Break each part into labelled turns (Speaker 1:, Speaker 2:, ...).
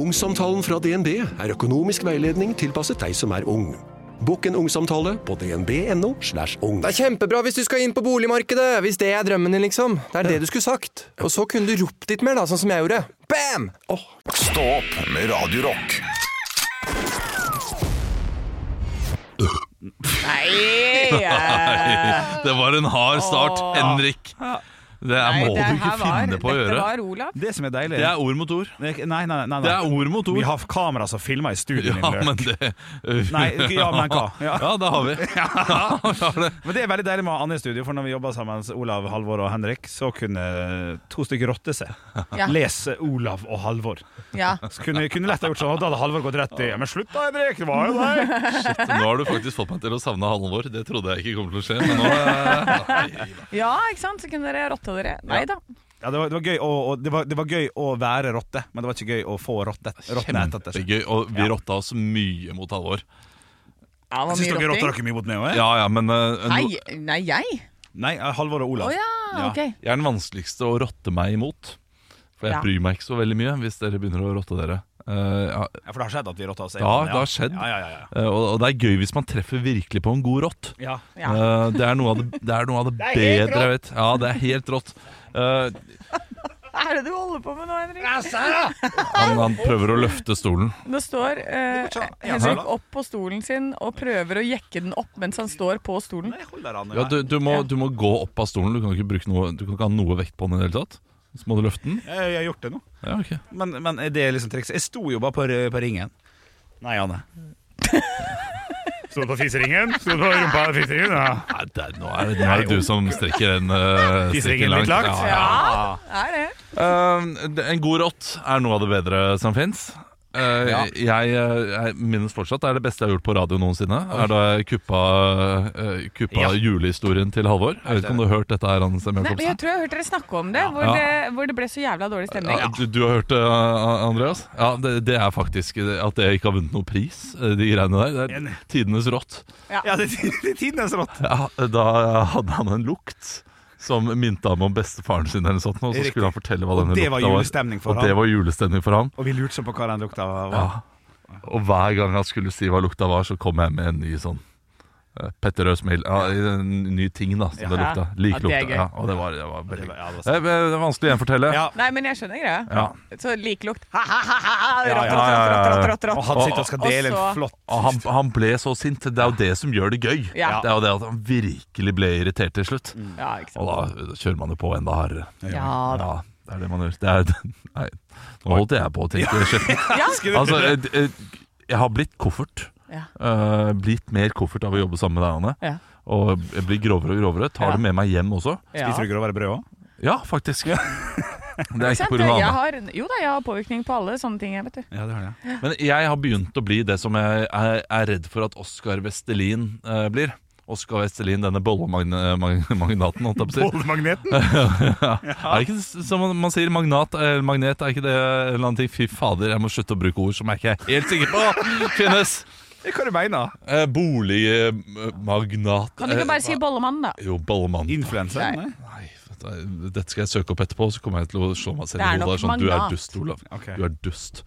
Speaker 1: Ungsamtalen fra DNB er økonomisk veiledning tilpasset deg som er ung. Bokk en ungsamtale på dnb.no. slash ung.
Speaker 2: Det er kjempebra hvis du skal inn på boligmarkedet! Hvis det er drømmen din, liksom. Det er det du skulle sagt. Og så kunne du ropt litt mer, da, sånn som jeg gjorde. Bam!
Speaker 3: Stå opp med Radio Rock.
Speaker 4: Nei, eh,
Speaker 5: Det var en hard start, Henrik. Det er, må
Speaker 4: det
Speaker 5: du ikke
Speaker 4: her var-
Speaker 5: finne på å
Speaker 4: Dette
Speaker 5: gjøre.
Speaker 4: var Olav.
Speaker 6: Det som er deilig
Speaker 5: Det er ord mot ord.
Speaker 6: Nei, nei, nei, nei.
Speaker 5: Det er ord mot
Speaker 6: Vi
Speaker 5: ord.
Speaker 6: har kamera som filmer i studio.
Speaker 5: Ja,
Speaker 6: min
Speaker 5: men
Speaker 6: løk.
Speaker 5: det
Speaker 6: Nei, ja, men hva? Ja.
Speaker 5: Ja, det har vi. Vi har det.
Speaker 6: Men det er veldig deilig med Anne i studio, for når vi jobba sammen, Olav, Halvor og Henrik, så kunne to stykker rotte seg.
Speaker 4: Ja.
Speaker 6: Les Olav og Halvor.
Speaker 4: Ja.
Speaker 6: Så kunne, kunne lett ha gjort sånn, og da hadde Halvor gått rett i Ja, men slutt da, Henrik! Det var jo deg!
Speaker 5: Shit, nå har du faktisk fått meg til å savne Halvor. Det trodde jeg ikke kom til å skje. Men nå eh,
Speaker 4: ja, ikke sant? Så kunne dere rotte dere. Nei da.
Speaker 6: Ja, det var, det, var gøy å, å- det, var, det var gøy å være rotte, men det var ikke gøy å få rotte. Rottene etter seg.
Speaker 5: kjempegøy. Og vi rotta oss mye mot Halvor.
Speaker 4: Ja, det var
Speaker 6: Syns
Speaker 4: mye
Speaker 6: dere rotter
Speaker 4: rotting.
Speaker 6: dere mye mot meg òg?
Speaker 5: Ja, ja, men eh,
Speaker 4: Nei,
Speaker 5: no,
Speaker 4: nei, jeg?
Speaker 6: Nei, Halvor og
Speaker 4: Å
Speaker 6: Olav.
Speaker 4: ja,
Speaker 6: Ja.
Speaker 4: ok.
Speaker 5: jeg er den vanskeligste å rotte meg imot. For jeg
Speaker 4: Ja.
Speaker 5: bryr meg ikke så veldig mye hvis dere begynner å rotte dere. Eh, ja,
Speaker 6: Ja, For det har skjedd at vi rotter oss?
Speaker 5: Ja, det har skjedd.
Speaker 6: Ja, ja, ja, ja.
Speaker 5: eh, og, og det er gøy hvis man treffer virkelig på en god rott.
Speaker 6: ja.
Speaker 4: Ja.
Speaker 5: Eh, det er noe av det, det, er noe av det, bedre jeg vet. Ja, det er helt rått. Eh,
Speaker 4: Hva er det du holder på med nå, Henrik?
Speaker 5: han, han prøver å løfte stolen.
Speaker 4: Nå står eh, Henrik opp på stolen sin og prøver å jekke den opp mens han står på stolen.
Speaker 6: Nei, hold der, Anne.
Speaker 5: Mm. Ja, du, du, må, du må gå opp av stolen. Du kan ikke, bruke noe, du kan ikke ha noe vekt på den i det hele tatt. Så må du løfte den.
Speaker 6: Jeg, jeg har gjort det nå.
Speaker 5: Ja, ok
Speaker 6: Men, men er det liksom trikset? Jeg sto jo bare på, r- på ringen. Nei, Anne. Sto du på fiseringen? Sto du på rumpa i fiseringen? Ja.
Speaker 5: Nei, det, er- nå, er det, nå er det du som strekker den uh,
Speaker 6: Fiseringen litt langt?
Speaker 5: Ja, ja.
Speaker 4: Det er det.
Speaker 5: Eh, det- en god rått er noe av det bedre som fins.
Speaker 6: Ja.
Speaker 5: jeg, eh, jeg minnes fortsatt det er det beste jeg har gjort på radio noensinne. Er da jeg kuppa, eh, kuppa
Speaker 6: Ja.
Speaker 5: julehistorien til Halvor. Jeg vet ikke om du har hørt dette her, Anne Sem
Speaker 4: Nei, men
Speaker 5: Jacobsen?
Speaker 4: jeg tror jeg har hørt dere snakke om det, hvor,
Speaker 5: Ja.
Speaker 4: det, hvor det ble så jævla dårlig stemning.
Speaker 5: Ja, du, du har hørt det, eh, Andreas? Ja, det, det er faktisk at jeg ikke har vunnet noen pris, eh, de greiene der. Det er
Speaker 6: Enig.
Speaker 5: tidenes rått.
Speaker 6: Ja, det, det er tidenes rått.
Speaker 5: Ja, da hadde han en lukt som minte ham om bestefaren sin, eller noe sånt, og så
Speaker 6: Riktig.
Speaker 5: skulle han fortelle hva
Speaker 6: Og
Speaker 5: denne
Speaker 6: det
Speaker 5: lukta
Speaker 6: var
Speaker 5: var.
Speaker 6: julestemning for
Speaker 5: og det
Speaker 6: ham.
Speaker 5: var julestemning for ham.
Speaker 6: Og vi lurte sånn på hva den lukta var.
Speaker 5: Og hver gang han skulle si hva lukta var, så kom jeg med en ny sånn eh, Petter Røe-smil. Ja, en ny ting, da, som det
Speaker 4: Ja.
Speaker 5: lukta. Lik
Speaker 4: Ja, det er
Speaker 5: lukta.
Speaker 4: gøy.
Speaker 5: Ja, og det var, det var veldig
Speaker 6: Det var- ja, det var
Speaker 5: Det er, det er vanskelig å gjenfortelle.
Speaker 6: Ja.
Speaker 4: Nei, men jeg skjønner greia.
Speaker 5: Ja.
Speaker 4: Så lik lukt. Ha-ha-ha!
Speaker 6: Ja,
Speaker 4: Rått,
Speaker 6: ja,
Speaker 5: ja, ja, ja.
Speaker 4: rått, rått, rått,
Speaker 6: Og
Speaker 4: rått.
Speaker 6: han sitter og skal
Speaker 4: Og
Speaker 6: dele
Speaker 4: så-
Speaker 6: en flott
Speaker 5: Og han, han ble så sint. Det er jo det som gjør det gøy.
Speaker 4: Ja.
Speaker 5: Det er jo det at han virkelig ble irritert til slutt.
Speaker 4: Ja, ikke sant.
Speaker 5: Og da da kjører man det på enda hardere.
Speaker 4: Ja da.
Speaker 5: det er det man gjør. Det er, nei, nå holdt jeg på å tenke skjønner.
Speaker 4: Ja.
Speaker 5: Altså, jeg, jeg, jeg har blitt koffert.
Speaker 4: Ja.
Speaker 5: Eh, blitt mer koffert av å jobbe sammen med deg, Anne.
Speaker 4: Ja.
Speaker 5: Og jeg blir grovere og grovere. Tar
Speaker 4: Ja.
Speaker 5: det med meg hjem også.
Speaker 4: Ja.
Speaker 6: Spiser du grovere brød òg?
Speaker 5: Ja, faktisk. Det er
Speaker 4: Ikke
Speaker 5: ikke
Speaker 4: sant?
Speaker 5: på grunn av
Speaker 4: Jeg
Speaker 5: Anne.
Speaker 4: har, jo da, jeg har påvirkning på alle sånne ting, jeg, vet du.
Speaker 6: Ja, det har jeg.
Speaker 5: Men jeg har begynt å bli det som jeg er, er redd for at Oskar Vestelin eh, blir. Oskar Vestelin, denne bollemagnaten, holdt jeg på å si.
Speaker 6: Bollemagneten?
Speaker 5: Er det ikke s- som man- man sier magnat eller magnet? Er ikke det en eller annen ting? Fy fader, jeg må slutte å bruke ord som jeg ikke er helt sikker på finnes.
Speaker 6: Hva du mener du?
Speaker 5: Eh, Boligmagnat eh,
Speaker 4: Kan du ikke bare si bollemann, da?
Speaker 5: Jo, bollemann.
Speaker 6: Influenser? Nei.
Speaker 5: Nei, vet du, dette skal jeg søke opp etterpå, så kommer jeg til å slå meg selv
Speaker 4: Det er
Speaker 5: i hodet.
Speaker 4: nok
Speaker 5: og Sånn, du er
Speaker 4: magnat.
Speaker 5: dust, Olav.
Speaker 6: Ok.
Speaker 5: Du er dust.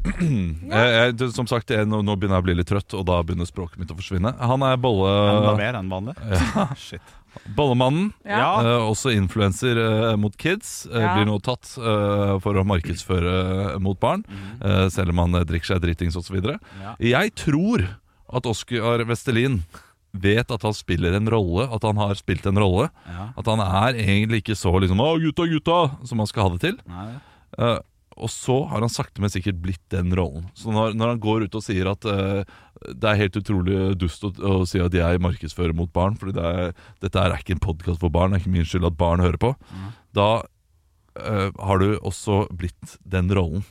Speaker 5: Jeg, jeg, du, som sagt, jeg, nå, nå begynner jeg å bli litt trøtt, og da begynner språket mitt å forsvinne. Han
Speaker 6: Enda
Speaker 5: er bolle,
Speaker 6: mer enn vanlig? Shit.
Speaker 5: bollemannen.
Speaker 4: Ja.
Speaker 5: Eh, også influenser eh, mot kids eh,
Speaker 4: Ja.
Speaker 5: blir nå tatt eh, for å markedsføre eh, mot barn, eh, selv om han eh, drikker seg dritings osv.
Speaker 6: Ja.
Speaker 5: Jeg tror at Oskar Vestelin vet at han spiller en rolle, at han har spilt en rolle.
Speaker 6: Ja.
Speaker 5: At han er egentlig ikke så liksom 'Å, gutta, gutta!' som han skal ha det til.
Speaker 6: Nei.
Speaker 5: Eh, og så har han sakte, men sikkert blitt den rollen. Så når, når han går ut og sier at eh, det er helt utrolig dust å, å si at jeg markedsfører mot barn, fordi det er, dette er ikke en podkast for barn, det er ikke min skyld at barn hører på, da eh, har du også blitt den rollen.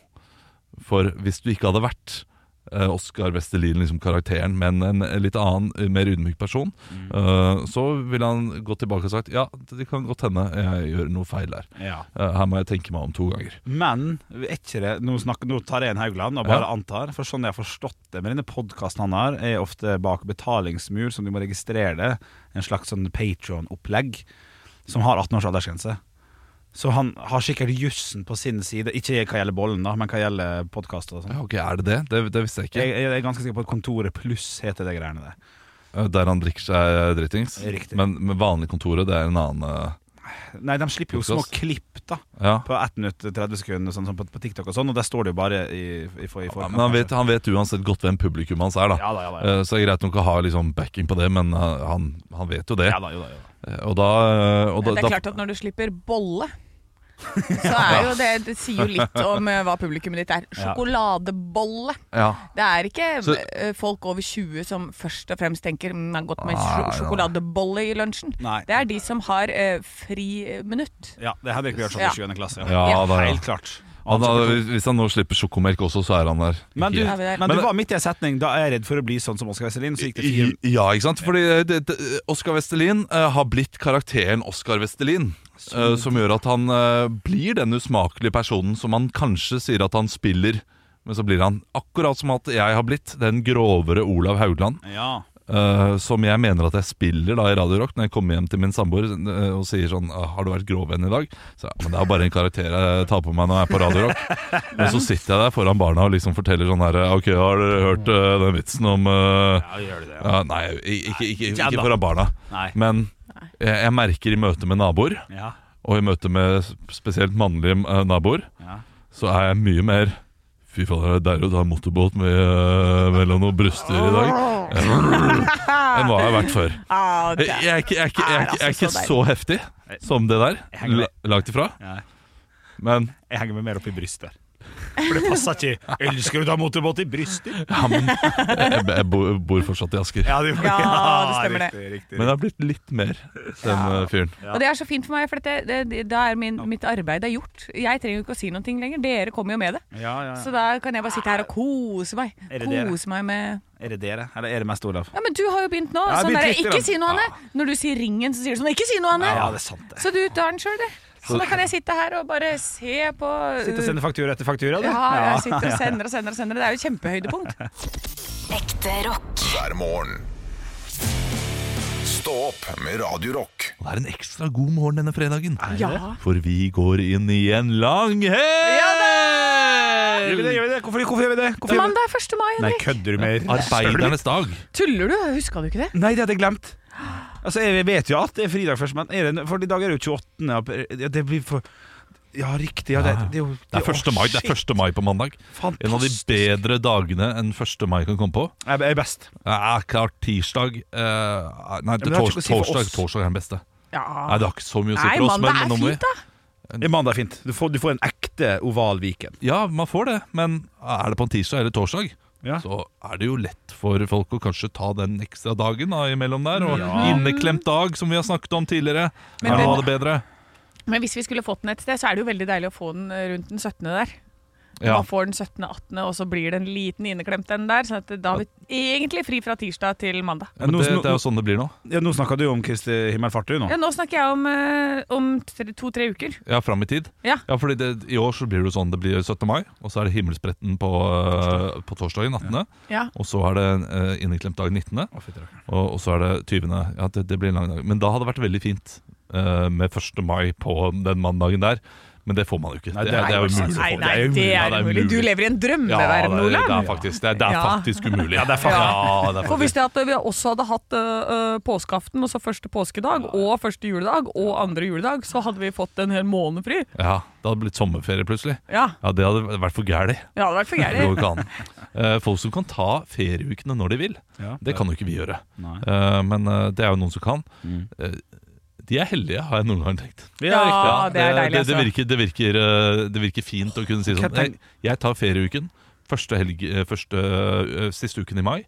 Speaker 5: For hvis du ikke hadde vært eh, Oscar Westerlin, liksom karakteren, men en litt annen, mer ydmyk person, eh, så ville han gått tilbake og sagt ja, det kan godt hende jeg gjør noe feil der.
Speaker 6: Ja.
Speaker 5: Eh, her må jeg tenke meg om to ganger.
Speaker 6: Men er ikke det, nå, snakker, nå tar jeg en Haugland og bare
Speaker 5: Ja.
Speaker 6: antar, for sånn jeg har forstått det. Men denne podkasten han har, er ofte bak betalingsmur, som du må registrere det. En slags sånn Patron-opplegg som har 18 års aldersgrense. Så han har sikkert jussen på sin side. Ikke hva gjelder bollen, da, men hva gjelder podkast og sånn.
Speaker 5: Ja, ok, Er det det? Det, det visste jeg ikke.
Speaker 6: Jeg, jeg er ganske sikker på at Kontoret pluss heter det greiene der.
Speaker 5: Eh, Der han drikker seg drittings.
Speaker 6: Riktig.
Speaker 5: Men, men vanlig kontoret, det er en annen eh,
Speaker 6: Nei, de slipper jo små
Speaker 5: Podcast.
Speaker 6: klipp da
Speaker 5: Ja.
Speaker 6: på 1 minutt 30 sekunder sånn, sånn, på, på TikTok og sånn, og der står det jo bare i, i, for- i
Speaker 5: Ja,
Speaker 6: forkant.
Speaker 5: men han vet, han vet uansett godt hvem publikum hans er, da.
Speaker 6: Ja da, ja da. Ja.
Speaker 5: Eh, Så det er greit nok å ha liksom backing på det, men eh, han, han vet jo det.
Speaker 6: Ja, da, jo da, jo da.
Speaker 5: Eh, Og da, eh, og da,
Speaker 4: Det er klart at når du slipper bolle så er jo det, det sier jo litt om eh, hva publikummet ditt er.
Speaker 6: Ja.
Speaker 4: Sjokoladebolle.
Speaker 5: da ja.
Speaker 4: Det er ikke
Speaker 5: Så-
Speaker 4: eh, folk over 20 som først og fremst tenker mm, det er godt med
Speaker 5: Ah,
Speaker 4: sjo-
Speaker 5: ja.
Speaker 4: sjokoladebolle i lunsjen.
Speaker 6: Nei.
Speaker 4: Det er de som har eh, friminutt.
Speaker 6: Ja, det hadde ikke vi hørt sånn
Speaker 4: Ja.
Speaker 6: i 7. klasse.
Speaker 5: Ja, da, ja.
Speaker 6: Helt klart.
Speaker 5: Han, han, hvis han nå slipper sjokomelk også, så er han der.
Speaker 6: Men du,
Speaker 4: Ja, vi er der.
Speaker 6: men du
Speaker 5: Men-
Speaker 6: var midt i en setning. Da er jeg redd for å bli sånn som Oskar Vesselin. Så gikk det fire
Speaker 5: I- Ja, ikke sant? Fordi eh, det, det, Oscar Vestelin eh, har blitt karakteren Oscar Vestelin. eh, som gjør at han eh, blir den usmakelige personen som han kanskje sier at han spiller. Men så blir han akkurat som at jeg har blitt, den grovere Olav Haugland.
Speaker 6: Ja.
Speaker 5: eh, som jeg mener at jeg spiller da i Radio Rock når jeg kommer hjem til min samboer eh, og sier sånn «Ah, 'Har du vært grovvenn i dag?' Så ja, men det er bare en karakter jeg tar på meg når jeg er på Radio Rock. Men så sitter jeg der foran barna og liksom forteller sånn her 'Ok, har dere hørt eh, den vitsen om eh,
Speaker 6: ja, gjør du det? Ja.
Speaker 5: ja, nei, ikke, ikke, ikke,
Speaker 6: Ikke
Speaker 5: ikke
Speaker 6: enda.
Speaker 5: foran barna.
Speaker 6: Nei.
Speaker 5: Men jeg, jeg merker i møte med naboer,
Speaker 6: Ja.
Speaker 5: og i møte med s- spesielt mannlige eh, naboer,
Speaker 6: Ja.
Speaker 5: så er jeg mye mer Fy fader, det er deilig å ta motorbåt med, eh, mellom noen bryster i dag. Enn hva jeg har vært før.
Speaker 4: Ah,
Speaker 5: Jeg
Speaker 4: det,
Speaker 5: jeg er ikke, jeg er ikke, jeg er ikke, jeg er ikke så heftig som det der.
Speaker 6: Jeg henger med.
Speaker 5: la- Langt ifra.
Speaker 6: Ja.
Speaker 5: Men
Speaker 6: Jeg henger meg mer opp i brystet. For det passer ikke. Elsker du å ta motorbåt i brystet?
Speaker 5: ja, men, jeg, jeg bor bor fortsatt i Asker.
Speaker 6: det,
Speaker 4: Ja, det stemmer det.
Speaker 6: riktig, Riktig,
Speaker 5: Men jeg har blitt litt mer den eh, fyren.
Speaker 4: Og det er så fint for meg, for dette, det, det, da er min, mitt arbeid er gjort. Jeg trenger jo ikke å si noen ting lenger. Dere kommer jo med det.
Speaker 6: Ja, ja.
Speaker 4: Så da kan jeg bare sitte her og kose meg.
Speaker 6: Er det dere?
Speaker 4: Kose meg med
Speaker 6: Er det dere, eller er det mest Olav?
Speaker 4: Ja, men du har jo begynt nå.
Speaker 6: jeg har
Speaker 4: Sånn
Speaker 6: begynt
Speaker 4: der,
Speaker 6: litt,
Speaker 4: ikke
Speaker 6: da.
Speaker 4: si noe, Anne. Når du sier ringen, så sier du sånn Ikke si noe, Anne.
Speaker 6: Ja, det er sant, det.
Speaker 4: Så du tar den sjøl, du. Så da kan jeg sitte her og bare se på
Speaker 6: Sitte og sende faktura etter faktura, du.
Speaker 4: Ja, jeg sitter og sender og sender og sender. Det er jo et kjempehøydepunkt.
Speaker 7: Ekte rock.
Speaker 3: hver morgen. Stå opp med Radio Rock.
Speaker 5: Det er en ekstra god morgen denne fredagen.
Speaker 4: Ja.
Speaker 5: For vi går inn i en lang
Speaker 6: Gjør vi
Speaker 5: helg!
Speaker 6: det, gjør vi det? Hvorfor, hvorfor gjør vi det? Hvorfor gjør vi det?
Speaker 4: Mandag er 1. mai,
Speaker 6: Nei,
Speaker 4: Henrik.
Speaker 6: kødder du med
Speaker 5: Arbeidernes dag.
Speaker 4: Tuller du? Huska du ikke det?
Speaker 6: Nei, det hadde jeg glemt. Altså, Jeg vet jo at det er fridag først, men er det, for i dag er det jo 28. april. Ja, Det blir for Ja, riktig. Ja, det, det, er jo
Speaker 5: Det er 1. mai, det er 1. mai på mandag. En av de
Speaker 6: Fantastisk.
Speaker 5: bedre dagene enn 1. mai kan komme på.
Speaker 6: Jeg er best.
Speaker 5: Ja, klart tirsdag eh, Nei,
Speaker 6: det har ikke
Speaker 5: tors
Speaker 6: å si for
Speaker 5: torsdag,
Speaker 6: oss. Ah.
Speaker 5: torsdag er den beste. Nei,
Speaker 4: Ja.
Speaker 5: Det har ikke så mye å si
Speaker 4: Nei,
Speaker 5: for oss, men
Speaker 4: mandag er
Speaker 5: nå må vi
Speaker 4: fint, da.
Speaker 6: Det er Mandag er fint. Du får, du får en ekte oval Viken.
Speaker 5: Ja, man får det, men er det på en tirsdag eller torsdag,
Speaker 6: Ja.
Speaker 5: så er det jo lett for folk å kanskje ta den ekstra dagen da, imellom der. Og
Speaker 6: Ja.
Speaker 5: inneklemt dag, som vi har snakket om tidligere,
Speaker 4: Men
Speaker 5: er noe
Speaker 4: den-
Speaker 5: av det bedre.
Speaker 4: Men hvis vi skulle fått den et sted, så er det jo veldig deilig å få den eh, rundt den 17. der.
Speaker 5: Ja.
Speaker 4: Man får den 17. 18., og så blir det en liten inneklemt den der. Så at da er vi egentlig fri fra tirsdag til mandag.
Speaker 5: Men
Speaker 6: Nå-
Speaker 5: det,
Speaker 6: nå-
Speaker 5: det er jo sånn det blir nå.
Speaker 6: Ja, nå snakka du om Kristi himmelfart, du nå.
Speaker 4: Ja, nå snakker jeg om, eh, om tre- to-tre uker.
Speaker 5: Ja, fram i tid.
Speaker 4: Ja.
Speaker 5: fordi det, I år så blir det jo sånn det blir 17. mai, og så er det himmelspretten på, eh, på torsdagen 18.
Speaker 4: Ja.
Speaker 5: Og så er det uh, inneklemt dag 19.
Speaker 6: Å, fy til rakkeren.
Speaker 5: Og, og så er det 20. Ja, det, det blir en lang dag. Men da hadde det vært veldig fint eh, med 1. mai på den mandagen der. Men det får man jo ikke.
Speaker 6: Nei,
Speaker 5: det,
Speaker 6: det
Speaker 5: er, det er jo
Speaker 6: er-
Speaker 5: umulig. å
Speaker 4: Nei,
Speaker 5: få.
Speaker 4: nei,
Speaker 5: jo
Speaker 4: det
Speaker 5: ja,
Speaker 4: er umulig. Du lever i en
Speaker 5: ja, det, er,
Speaker 4: drømmeverden,
Speaker 5: det
Speaker 4: Olav.
Speaker 5: er faktisk, det er, det er
Speaker 4: Ja.
Speaker 5: faktisk umulig.
Speaker 6: Ja, det er fa-
Speaker 5: Ja, det er
Speaker 8: For hvis
Speaker 5: faktisk.
Speaker 8: det at vi også hadde hatt
Speaker 4: eh,
Speaker 8: øh, øh, påskeaften, altså første påskedag, og første juledag, og andre juledag, så hadde vi fått en hel måned fri.
Speaker 5: Ja, det hadde blitt sommerferie plutselig.
Speaker 8: Ja,
Speaker 5: Ja, Det hadde vært for gæli.
Speaker 8: det hadde vært for
Speaker 5: Det går
Speaker 8: gærent.
Speaker 5: ikke an. Eh, folk som kan ta ferieukene når de vil,
Speaker 6: Ja.
Speaker 5: det kan jo ikke vi gjøre.
Speaker 6: Nei.
Speaker 5: Eh, men eh, det er jo noen som kan.
Speaker 6: Mm.
Speaker 5: Eh, de er heldige, har jeg noen gang tenkt.
Speaker 4: Ja, det er
Speaker 5: det,
Speaker 4: deilig,
Speaker 5: det,
Speaker 4: altså.
Speaker 5: virker, det, virker, eh, det virker fint å kunne si
Speaker 6: Kan
Speaker 5: sånn.
Speaker 6: jeg
Speaker 5: Jeg, jeg tar ferieuken første helg, eh, første, eh, siste uken i mai,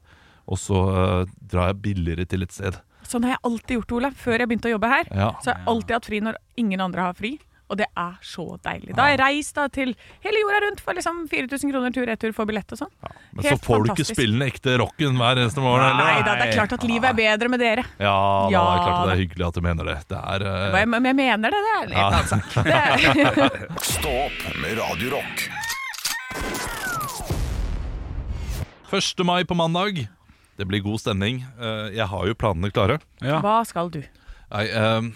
Speaker 5: og så eh, drar jeg billigere til et sted.
Speaker 4: Sånn har jeg alltid gjort, Olav. Før jeg begynte å jobbe her,
Speaker 5: Ja.
Speaker 4: så har jeg alltid hatt fri når ingen andre har fri. Og det er så deilig. Da har jeg reist da til hele jorda rundt for liksom 4000 kroner tur-retur for billett og sånn.
Speaker 5: Men så
Speaker 4: Helt
Speaker 5: får du ikke
Speaker 4: fantastisk.
Speaker 5: spille den ekte rocken hver eneste morgen.
Speaker 4: Nei
Speaker 5: Eller?
Speaker 4: da, det er klart at livet er bedre med dere.
Speaker 5: Ja, da, det er klart
Speaker 4: Ja,
Speaker 5: det er hyggelig at du mener det. Det er eh,
Speaker 4: Men men jeg mener altså. det, det er litt
Speaker 5: Ja.
Speaker 4: annen sak. Det er-
Speaker 3: Stå opp med Radio Rock.
Speaker 5: 1. mai på mandag. Det blir god stemning. Eh, Jeg har jo planene klare.
Speaker 6: Ja.
Speaker 4: Hva skal du?
Speaker 5: Nei, eh, ehm,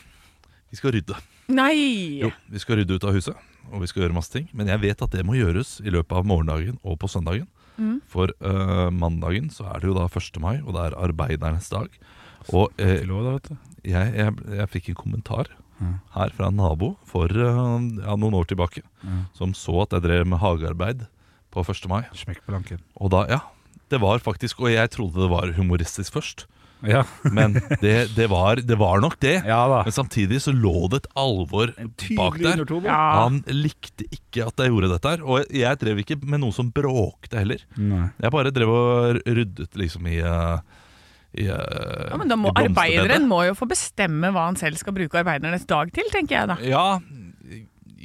Speaker 5: vi skal rydde.
Speaker 4: Nei!
Speaker 5: Jo, vi skal rydde ut av huset, og vi skal gjøre masse ting. Men jeg vet at det må gjøres i løpet av morgendagen og på søndagen. For eh, mandagen så er det jo da 1. mai, og det er arbeidernes dag. Og eh, jeg, jeg, jeg fikk en kommentar her fra en nabo for eh, ja, noen år tilbake, som så at jeg drev med hagearbeid på 1. mai.
Speaker 6: Smekk på lanken.
Speaker 5: Og da, ja, det var faktisk Og jeg trodde det var humoristisk først,
Speaker 6: Ja.
Speaker 5: men det, det, var, det var nok det.
Speaker 6: ja da.
Speaker 5: Men samtidig så lå det et alvor bak der.
Speaker 4: Ja.
Speaker 5: Han likte ikke at jeg gjorde dette her. Og jeg drev ikke med noe som bråkte heller.
Speaker 6: Nei.
Speaker 5: Jeg bare drev og ryddet liksom i, eh, i eh,
Speaker 4: Ja, men da må,
Speaker 5: i blomsterbedet.
Speaker 4: arbeideren må jo få bestemme hva han selv skal bruke arbeidernes dag til, tenker jeg da.
Speaker 5: Ja,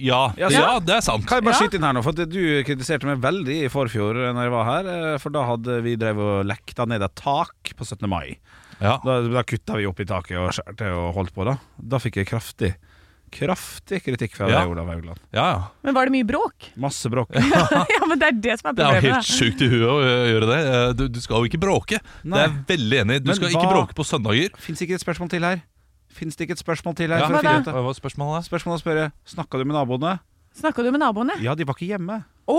Speaker 5: ja,
Speaker 6: Ja,
Speaker 5: det-
Speaker 6: så-
Speaker 5: ja, det er sant.
Speaker 6: Kan jeg bare
Speaker 4: Ja.
Speaker 6: skyte inn her nå, for at du kritiserte meg veldig i forfjor Når jeg var her, eh, for da hadde vi drev og lekta ned et tak på 17. mai
Speaker 5: Ja.
Speaker 6: Da, da kutta vi opp i taket og skjærte og holdt på da Da fikk jeg kraftig, kraftig kritikk fra
Speaker 5: Ja.
Speaker 6: deg, Olav Haugland
Speaker 5: ja, ja.
Speaker 4: Men var det mye bråk?
Speaker 6: Masse bråk
Speaker 4: ja, men det er det som er
Speaker 5: Det er jo
Speaker 4: problemet.
Speaker 5: helt sjukt i huet å eh, gjøre det. Eh, Du, du skal jo ikke bråke. Det
Speaker 6: Nei.
Speaker 5: er jeg veldig enig i. Du
Speaker 6: Men
Speaker 5: skal
Speaker 6: hva-
Speaker 5: ikke bråke på søndager.
Speaker 6: Finnes ikke et spørsmål til her? Finnes det ikke et spørsmål til her?
Speaker 5: Ja,
Speaker 6: for å
Speaker 5: hva
Speaker 6: finne ut det?
Speaker 5: var spørsmålet?
Speaker 6: Spørsmålet å spørre, snakket du med naboene?
Speaker 4: Snakka du med naboene?
Speaker 6: Ja, de var ikke hjemme
Speaker 4: Å!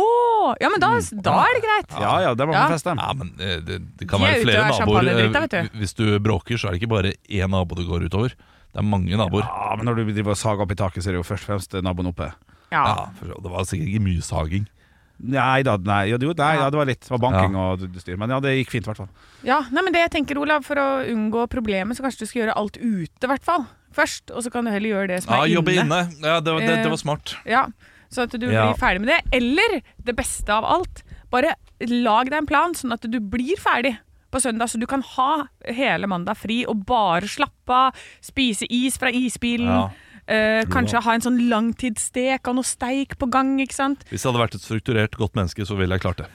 Speaker 4: ja, men da, da er det greit.
Speaker 6: Ja, ja, det var
Speaker 4: Ja.
Speaker 6: på fest dem
Speaker 5: Mm. Ja, men eh, det, det kan
Speaker 4: De er
Speaker 5: være
Speaker 4: ute
Speaker 5: flere
Speaker 4: og er
Speaker 5: naboer.
Speaker 4: champagnedrita,
Speaker 5: eh,
Speaker 4: vet du.
Speaker 5: Hvis du bråker, så er det ikke bare én nabo det går utover. Det er mange naboer.
Speaker 6: Ja, men når du driver og sager opp i taket, så er det jo først og fremst naboen oppe
Speaker 4: Ja.
Speaker 5: Ja, for Det var sikkert ikke mye saging.
Speaker 6: Nei da, nei, jo, jo, nei, ja, det var litt Det var banking
Speaker 5: Ja.
Speaker 6: og styr Men ja, det gikk fint i hvert fall
Speaker 4: Ja, nei, men det jeg tenker, Olav, for å unngå problemet, så kanskje du skal gjøre alt ute, i hvert fall. Først. Og så kan du heller gjøre det som
Speaker 5: Ja,
Speaker 4: er
Speaker 5: jobbe
Speaker 4: inne. Eh.
Speaker 5: inne. Ja, det, var- det, det var smart.
Speaker 4: Ja, så at du
Speaker 5: Ja.
Speaker 4: blir ferdig med det. Eller det beste av alt, bare lag deg en plan sånn at du blir ferdig på søndag, så du kan ha hele mandag fri og bare slappe av, spise is fra isbilen.
Speaker 5: Ja.
Speaker 4: eh, kanskje ha en sånn langtidsstek og noe steik på gang, ikke sant?
Speaker 5: Hvis jeg hadde vært et strukturert, godt menneske, så ville jeg klart det.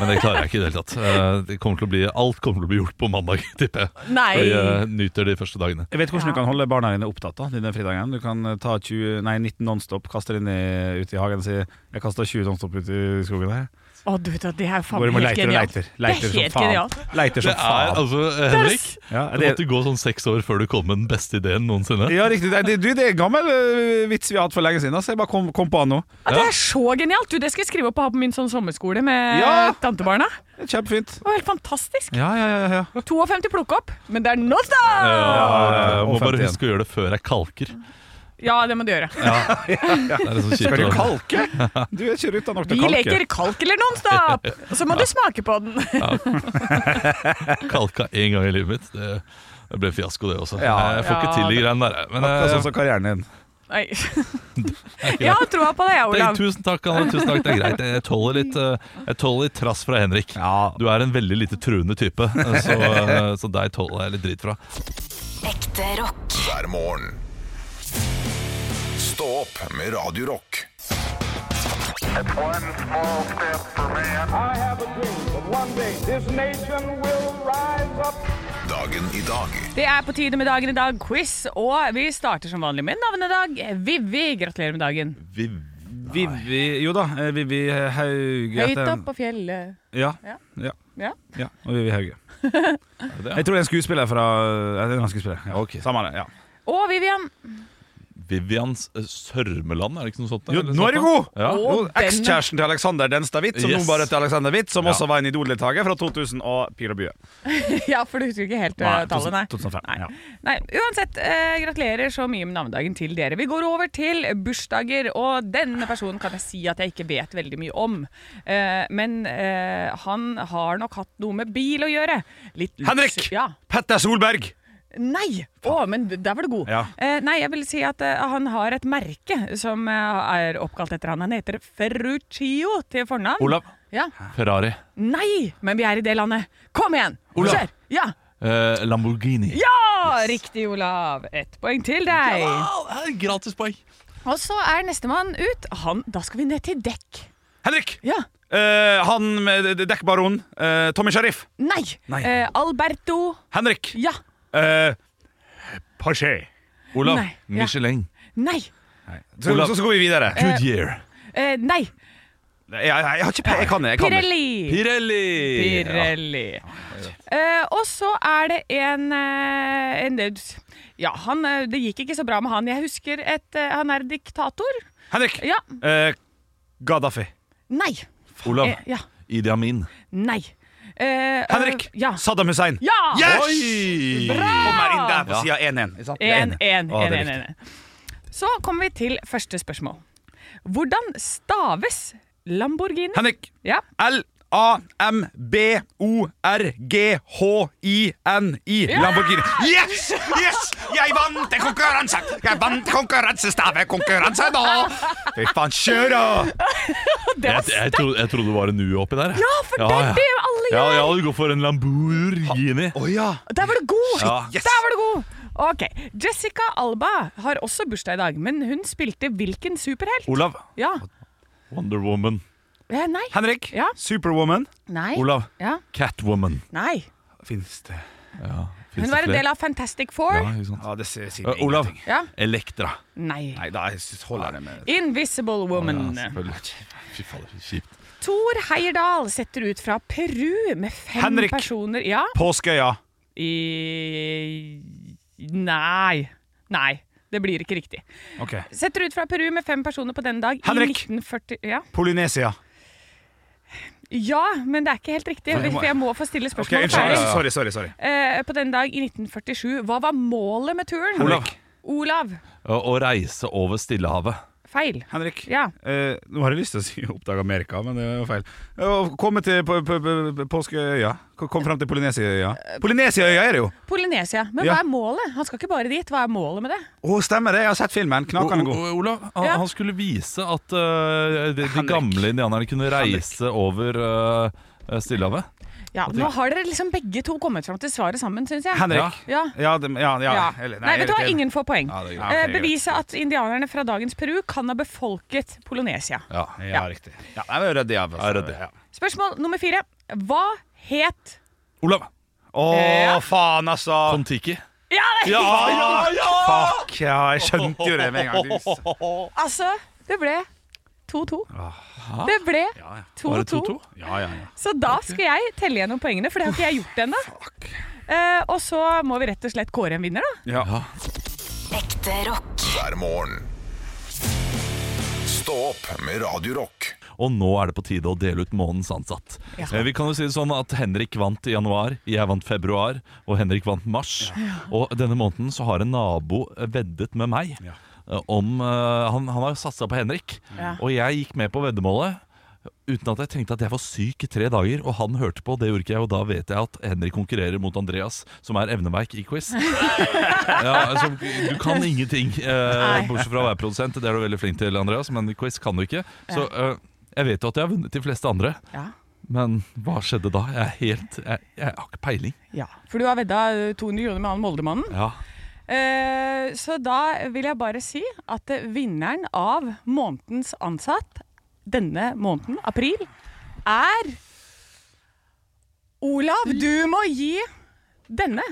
Speaker 5: Men det klarer jeg ikke i det hele tatt. Eh, Det kommer til å bli, alt kommer til å bli gjort på mandag, tipper jeg.
Speaker 4: Nei!
Speaker 5: For jeg nyter de første dagene.
Speaker 6: Jeg vet hvordan
Speaker 4: Ja.
Speaker 6: du kan holde barna dine opptatt da, denne fridagen. Du kan eh, ta 20, nei, 19 nonstop, kaste det inn i, ut i hagen og si 'Jeg kasta 20 nonstop ut i skogen her'.
Speaker 4: Å, du vet hva, det er jo faen
Speaker 6: Hvor
Speaker 4: meg
Speaker 6: man
Speaker 4: helt
Speaker 6: leiter og
Speaker 4: genialt.
Speaker 6: leiter. Leiter
Speaker 4: Det er
Speaker 6: som
Speaker 4: helt
Speaker 6: faen.
Speaker 4: genialt.
Speaker 6: Leiter
Speaker 5: Det
Speaker 6: som
Speaker 5: er
Speaker 6: faen.
Speaker 5: altså, Henrik,
Speaker 6: Ja,
Speaker 5: det
Speaker 6: det,
Speaker 5: måtte gå sånn seks år før du kom med den beste ideen noensinne.
Speaker 6: ja, riktig. Det, det- du, det er en gammel eh, vits vi har hatt for lenge siden. Altså. Jeg bare kom, kom på den nå.
Speaker 4: Ja, det er så genialt! Du, det skal jeg skrive opp og ha på min sånn sommerskole med
Speaker 6: Ja.
Speaker 4: tantebarna.
Speaker 6: Kjempefint.
Speaker 4: Det var helt fantastisk.
Speaker 6: Ja, ja, ja, ja.
Speaker 4: 52 plukke opp, men det er non-stop!
Speaker 5: Ja, jeg Eh, må
Speaker 6: Og
Speaker 5: bare
Speaker 6: 51.
Speaker 5: huske å gjøre det før jeg kalker.
Speaker 4: Ja, det må du gjøre.
Speaker 5: Det er liksom
Speaker 6: Skal du
Speaker 5: kjipt. å-
Speaker 6: kalke? Du er ikke ruta nok
Speaker 4: Vi
Speaker 6: til å kalke.
Speaker 4: leker kalk eller nonstop! Og så må du smake på den.
Speaker 5: Kalka én gang i livet mitt. Det, det ble fiasko, det også.
Speaker 6: Ja.
Speaker 5: Jeg får ikke til de greiene der. jeg. Men
Speaker 6: Akkurat
Speaker 5: eh,
Speaker 6: sånn som karrieren din.
Speaker 4: Nei. Jeg har troa på deg,
Speaker 5: Nei,
Speaker 4: Olav.
Speaker 5: tusen takk, Anne. Tusen takk. Det er greit. Jeg tåler litt, eh, jeg tåler litt trass fra Henrik.
Speaker 6: Ja.
Speaker 5: Du er en veldig lite truende type, eh, så, eh, så deg tåler jeg litt drit fra.
Speaker 7: Ekte rock.
Speaker 3: hver morgen. Stå opp med Radio Rock.
Speaker 9: I have a dream that one day this nation will rise up.
Speaker 3: Dagen i dag
Speaker 4: Det er på tide med dagen i dag, quiz, og vi starter som vanlig med navnedag. Vivi, gratulerer med dagen.
Speaker 6: Vivi Jo da, eh, Vivi Hauge
Speaker 4: Høyt
Speaker 6: heter-
Speaker 4: opp på fjellet.
Speaker 6: Ja.
Speaker 4: Ja.
Speaker 6: ja.
Speaker 4: Ja.
Speaker 6: Ja, og Vivi Hauge.
Speaker 5: det, ja?
Speaker 6: Jeg tror det er en skuespiller fra ja, det er en skuespiller. Ja. Samme det. ja
Speaker 4: Og Vivian.
Speaker 5: Vivians eh, Sørmeland, er det ikke noe sånt?
Speaker 6: Jo,
Speaker 5: eller
Speaker 6: nå er
Speaker 5: sånt
Speaker 6: det god!
Speaker 5: da? Ja.
Speaker 4: Å,
Speaker 6: Jo,
Speaker 4: den-
Speaker 6: Ekskjæresten til Alexander Denstad-Hvitt, som
Speaker 5: Yes.
Speaker 6: nå bare heter Alexander Hvitt, som
Speaker 5: Ja.
Speaker 6: også var en idoldeltaker fra 2000 og Pil og bue.
Speaker 4: Ja, for du husker ikke helt eh, tallet, nei.
Speaker 6: 2005. Ja.
Speaker 4: Nei, uansett, eh, gratulerer så mye med navnedagen til dere. Vi går over til bursdager, og denne personen kan jeg si at jeg ikke vet veldig mye om. Eh, men eh, han har nok hatt noe med bil å gjøre. Litt luks-
Speaker 6: Henrik!
Speaker 4: Ja.
Speaker 6: Petter Solberg!
Speaker 4: Nei! Å, men der var du god.
Speaker 6: Ja.
Speaker 4: Eh, nei, jeg vil si at eh, han har et merke som eh, er oppkalt etter han. Han heter Ferruccio til fornavn.
Speaker 5: Olav
Speaker 4: Ja.
Speaker 5: Ferrari.
Speaker 4: Nei, men vi er i det landet. Kom igjen!
Speaker 5: Olav.
Speaker 4: Kjør! Ja.
Speaker 5: Eh, Lamborghini.
Speaker 4: ja! Riktig, Olav. Ett poeng til deg.
Speaker 5: Ah, eh, Gratispoeng!
Speaker 4: Og så er nestemann ut. Han, da skal vi ned til dekk.
Speaker 6: Henrik!
Speaker 4: Ja.
Speaker 6: Eh, han med dekkbaron. eh, Tommy Sharif.
Speaker 4: Nei.
Speaker 6: Nei.
Speaker 4: Eh, Alberto.
Speaker 6: Henrik.
Speaker 4: Ja.
Speaker 6: Uh, Paché.
Speaker 5: Olav
Speaker 4: Nei, ja. Eh.
Speaker 5: Michelin.
Speaker 4: Nei.
Speaker 6: Så,
Speaker 5: Olav.
Speaker 6: så, så går vi videre.
Speaker 5: Goodyear.
Speaker 4: Eh, nei.
Speaker 6: Jeg, jeg, jeg har ikke pe... Jeg kan det. Jeg kan det.
Speaker 4: Pirelli.
Speaker 5: Pirelli!
Speaker 4: Pirelli. Eh, og så er det en, eh, en Ja, han, eh, Det gikk ikke så bra med han. Jeg husker et eh, Han er diktator.
Speaker 6: Henrik!
Speaker 4: Ja.
Speaker 6: Eh, Gaddafi.
Speaker 4: Nei.
Speaker 5: Olav.
Speaker 4: Eh, ja.
Speaker 5: Idi Amin.
Speaker 4: Nei. Eh, eh,
Speaker 6: Henrik!
Speaker 4: Ja!
Speaker 6: Saddam Hussein.
Speaker 4: ja!
Speaker 6: Yes!
Speaker 5: Oi!
Speaker 6: Kom her inn der på sida 1-1. ikke sant? Det er
Speaker 4: 1,
Speaker 6: Å,
Speaker 4: 1,
Speaker 6: det er
Speaker 4: 1, 1, 1. Så kommer vi til første spørsmål. Hvordan staves Lamborghini?
Speaker 6: Henrik.
Speaker 4: Ja.
Speaker 6: L-A-M-B-O-R-G-H-I-N-I. Lamborghini. Yes! Yes! Jeg vant en konkurranse! Jeg vant konkurransestavekonkurranse nå! Fy faen, kjør, da!
Speaker 4: Det var
Speaker 5: Jeg, jeg, trodde, jeg trodde det var en U oppi der. jeg.
Speaker 4: Ja, for det er det alle
Speaker 5: Ja,
Speaker 4: gjør!
Speaker 5: ja, du går for en Lamborghini.
Speaker 6: Å ja.
Speaker 4: Der var du god!
Speaker 5: Ja.
Speaker 4: Der var du god! Ok, Jessica Alba har også bursdag i dag, men hun spilte hvilken superhelt?
Speaker 6: Olav.
Speaker 4: Ja.
Speaker 5: Wonder Woman.
Speaker 4: Eh, nei.
Speaker 6: Henrik.
Speaker 4: Ja.
Speaker 6: Superwoman.
Speaker 4: Nei.
Speaker 5: Olav.
Speaker 4: Ja.
Speaker 5: Catwoman.
Speaker 4: Nei.
Speaker 6: Fins det
Speaker 4: Hun var en del av Fantastic Four.
Speaker 5: ja, ikke sant?
Speaker 6: Ja, det sier sier
Speaker 5: Eh, Olav.
Speaker 6: ingenting.
Speaker 4: Ja.
Speaker 5: Elektra.
Speaker 4: Nei.
Speaker 6: Nei, da jeg synes- holder jeg det med
Speaker 4: Invisible
Speaker 5: Ja,
Speaker 4: Woman.
Speaker 5: selvfølgelig. Fy fader, kjipt.
Speaker 4: Thor Heyerdahl setter ut fra Peru med fem
Speaker 6: Henrik.
Speaker 4: personer Ja.
Speaker 6: Påskeøya.
Speaker 4: I Nei. Nei. Det blir ikke riktig.
Speaker 6: Ok.
Speaker 4: Setter ut fra Peru med fem personer på denne dag
Speaker 6: Henrik.
Speaker 4: i 1940 ja.
Speaker 6: Polynesia.
Speaker 4: ja, men det er ikke helt riktig.
Speaker 6: jeg må-
Speaker 4: For jeg må få stille
Speaker 6: Ok,
Speaker 4: spørsmålet
Speaker 6: unnskyld.
Speaker 4: ferdig.
Speaker 6: Sorry, sorry. sorry.
Speaker 4: Eh, på denne dag i 1947, hva var målet med turen?
Speaker 6: Olav.
Speaker 4: Olav.
Speaker 5: Å å reise over Stillehavet.
Speaker 4: Feil.
Speaker 6: Henrik.
Speaker 4: Ja.
Speaker 6: Eh, nå har jeg lyst til å si 'oppdag Amerika', men det er jo feil. Eh, Å komme til på, på, på, påskeøya. Ko- Kom fram til Polynesiaøya.
Speaker 4: Eh,
Speaker 6: Polynesiaøya er det jo!
Speaker 4: Polynesia. Men
Speaker 6: Ja.
Speaker 4: hva er målet? Han skal ikke bare dit. Hva er målet med det?
Speaker 6: Å, stemmer det! Jeg har sett filmen.
Speaker 5: O-
Speaker 6: Knakende god.
Speaker 5: O- Olav, han,
Speaker 4: Ja.
Speaker 5: han skulle vise at eh, de, de
Speaker 6: Henrik.
Speaker 5: gamle indianerne kunne reise over eh, Stillehavet.
Speaker 4: Ja, Nå har dere liksom begge to kommet fram til svaret sammen, syns jeg.
Speaker 6: Henrik.
Speaker 4: Ja.
Speaker 6: Ja, det, ja, ja.
Speaker 4: Ja.
Speaker 6: Eller,
Speaker 4: nei, vet du hva,
Speaker 6: irriterende.
Speaker 4: ingen får poeng.
Speaker 6: Ja, det er greit.
Speaker 4: Eh,
Speaker 6: Ok, greit.
Speaker 4: Beviset at indianerne fra dagens Peru kan ha befolket Polonesia.
Speaker 5: Ja.
Speaker 6: Ja, riktig. Ja, jeg er redd, jeg.
Speaker 5: Jeg er redd.
Speaker 6: Ja.
Speaker 4: Spørsmål nummer fire. Hva het
Speaker 5: Olav!
Speaker 6: Å,
Speaker 4: Ja.
Speaker 6: faen, altså!
Speaker 5: Ah. Kon-Tiki.
Speaker 4: Ja, det er riktig!
Speaker 6: Fuck, ja, jeg skjønte jo det med en gang. Du-
Speaker 4: Altså, det ble 2-2. Det ble 2-2.
Speaker 5: Var det 2-2?
Speaker 6: Ja, ja, ja.
Speaker 4: Så da skal jeg telle gjennom poengene, for det har ikke jeg gjort ennå. Eh, og så må vi rett og slett kåre en vinner, da.
Speaker 7: Ekte rock.
Speaker 3: hver morgen. Stå opp med Radio Rock.
Speaker 5: Og nå er det på tide å dele ut månedens ansatt. Eh, Vi kan jo si det sånn at Henrik vant i januar, jeg vant februar, og Henrik vant mars. Og denne måneden så har en nabo veddet med meg. eh, Om, eh, han, han har satsa på Henrik,
Speaker 4: Ja.
Speaker 5: og jeg gikk med på veddemålet. Uten at jeg tenkte at jeg var syk i tre dager, og han hørte på. Det gjorde ikke jeg, og da vet jeg at Henrik konkurrerer mot Andreas, som er evneveik i quiz. Ja, altså, du kan ingenting, eh,
Speaker 4: Nei.
Speaker 5: bortsett fra å være produsent. Det er du veldig flink til, Andreas, men quiz kan du ikke. Så eh, jeg vet jo at jeg har vunnet de fleste andre,
Speaker 4: Ja.
Speaker 5: men hva skjedde da? Jeg, er helt, jeg, jeg har ikke peiling.
Speaker 4: ja. For du har vedda eh, 200 kroner med han Moldemannen.
Speaker 5: Ja.
Speaker 4: Eh, så da vil jeg bare si at eh, vinneren av månedens ansatt denne måneden, april, er Olav, du må gi denne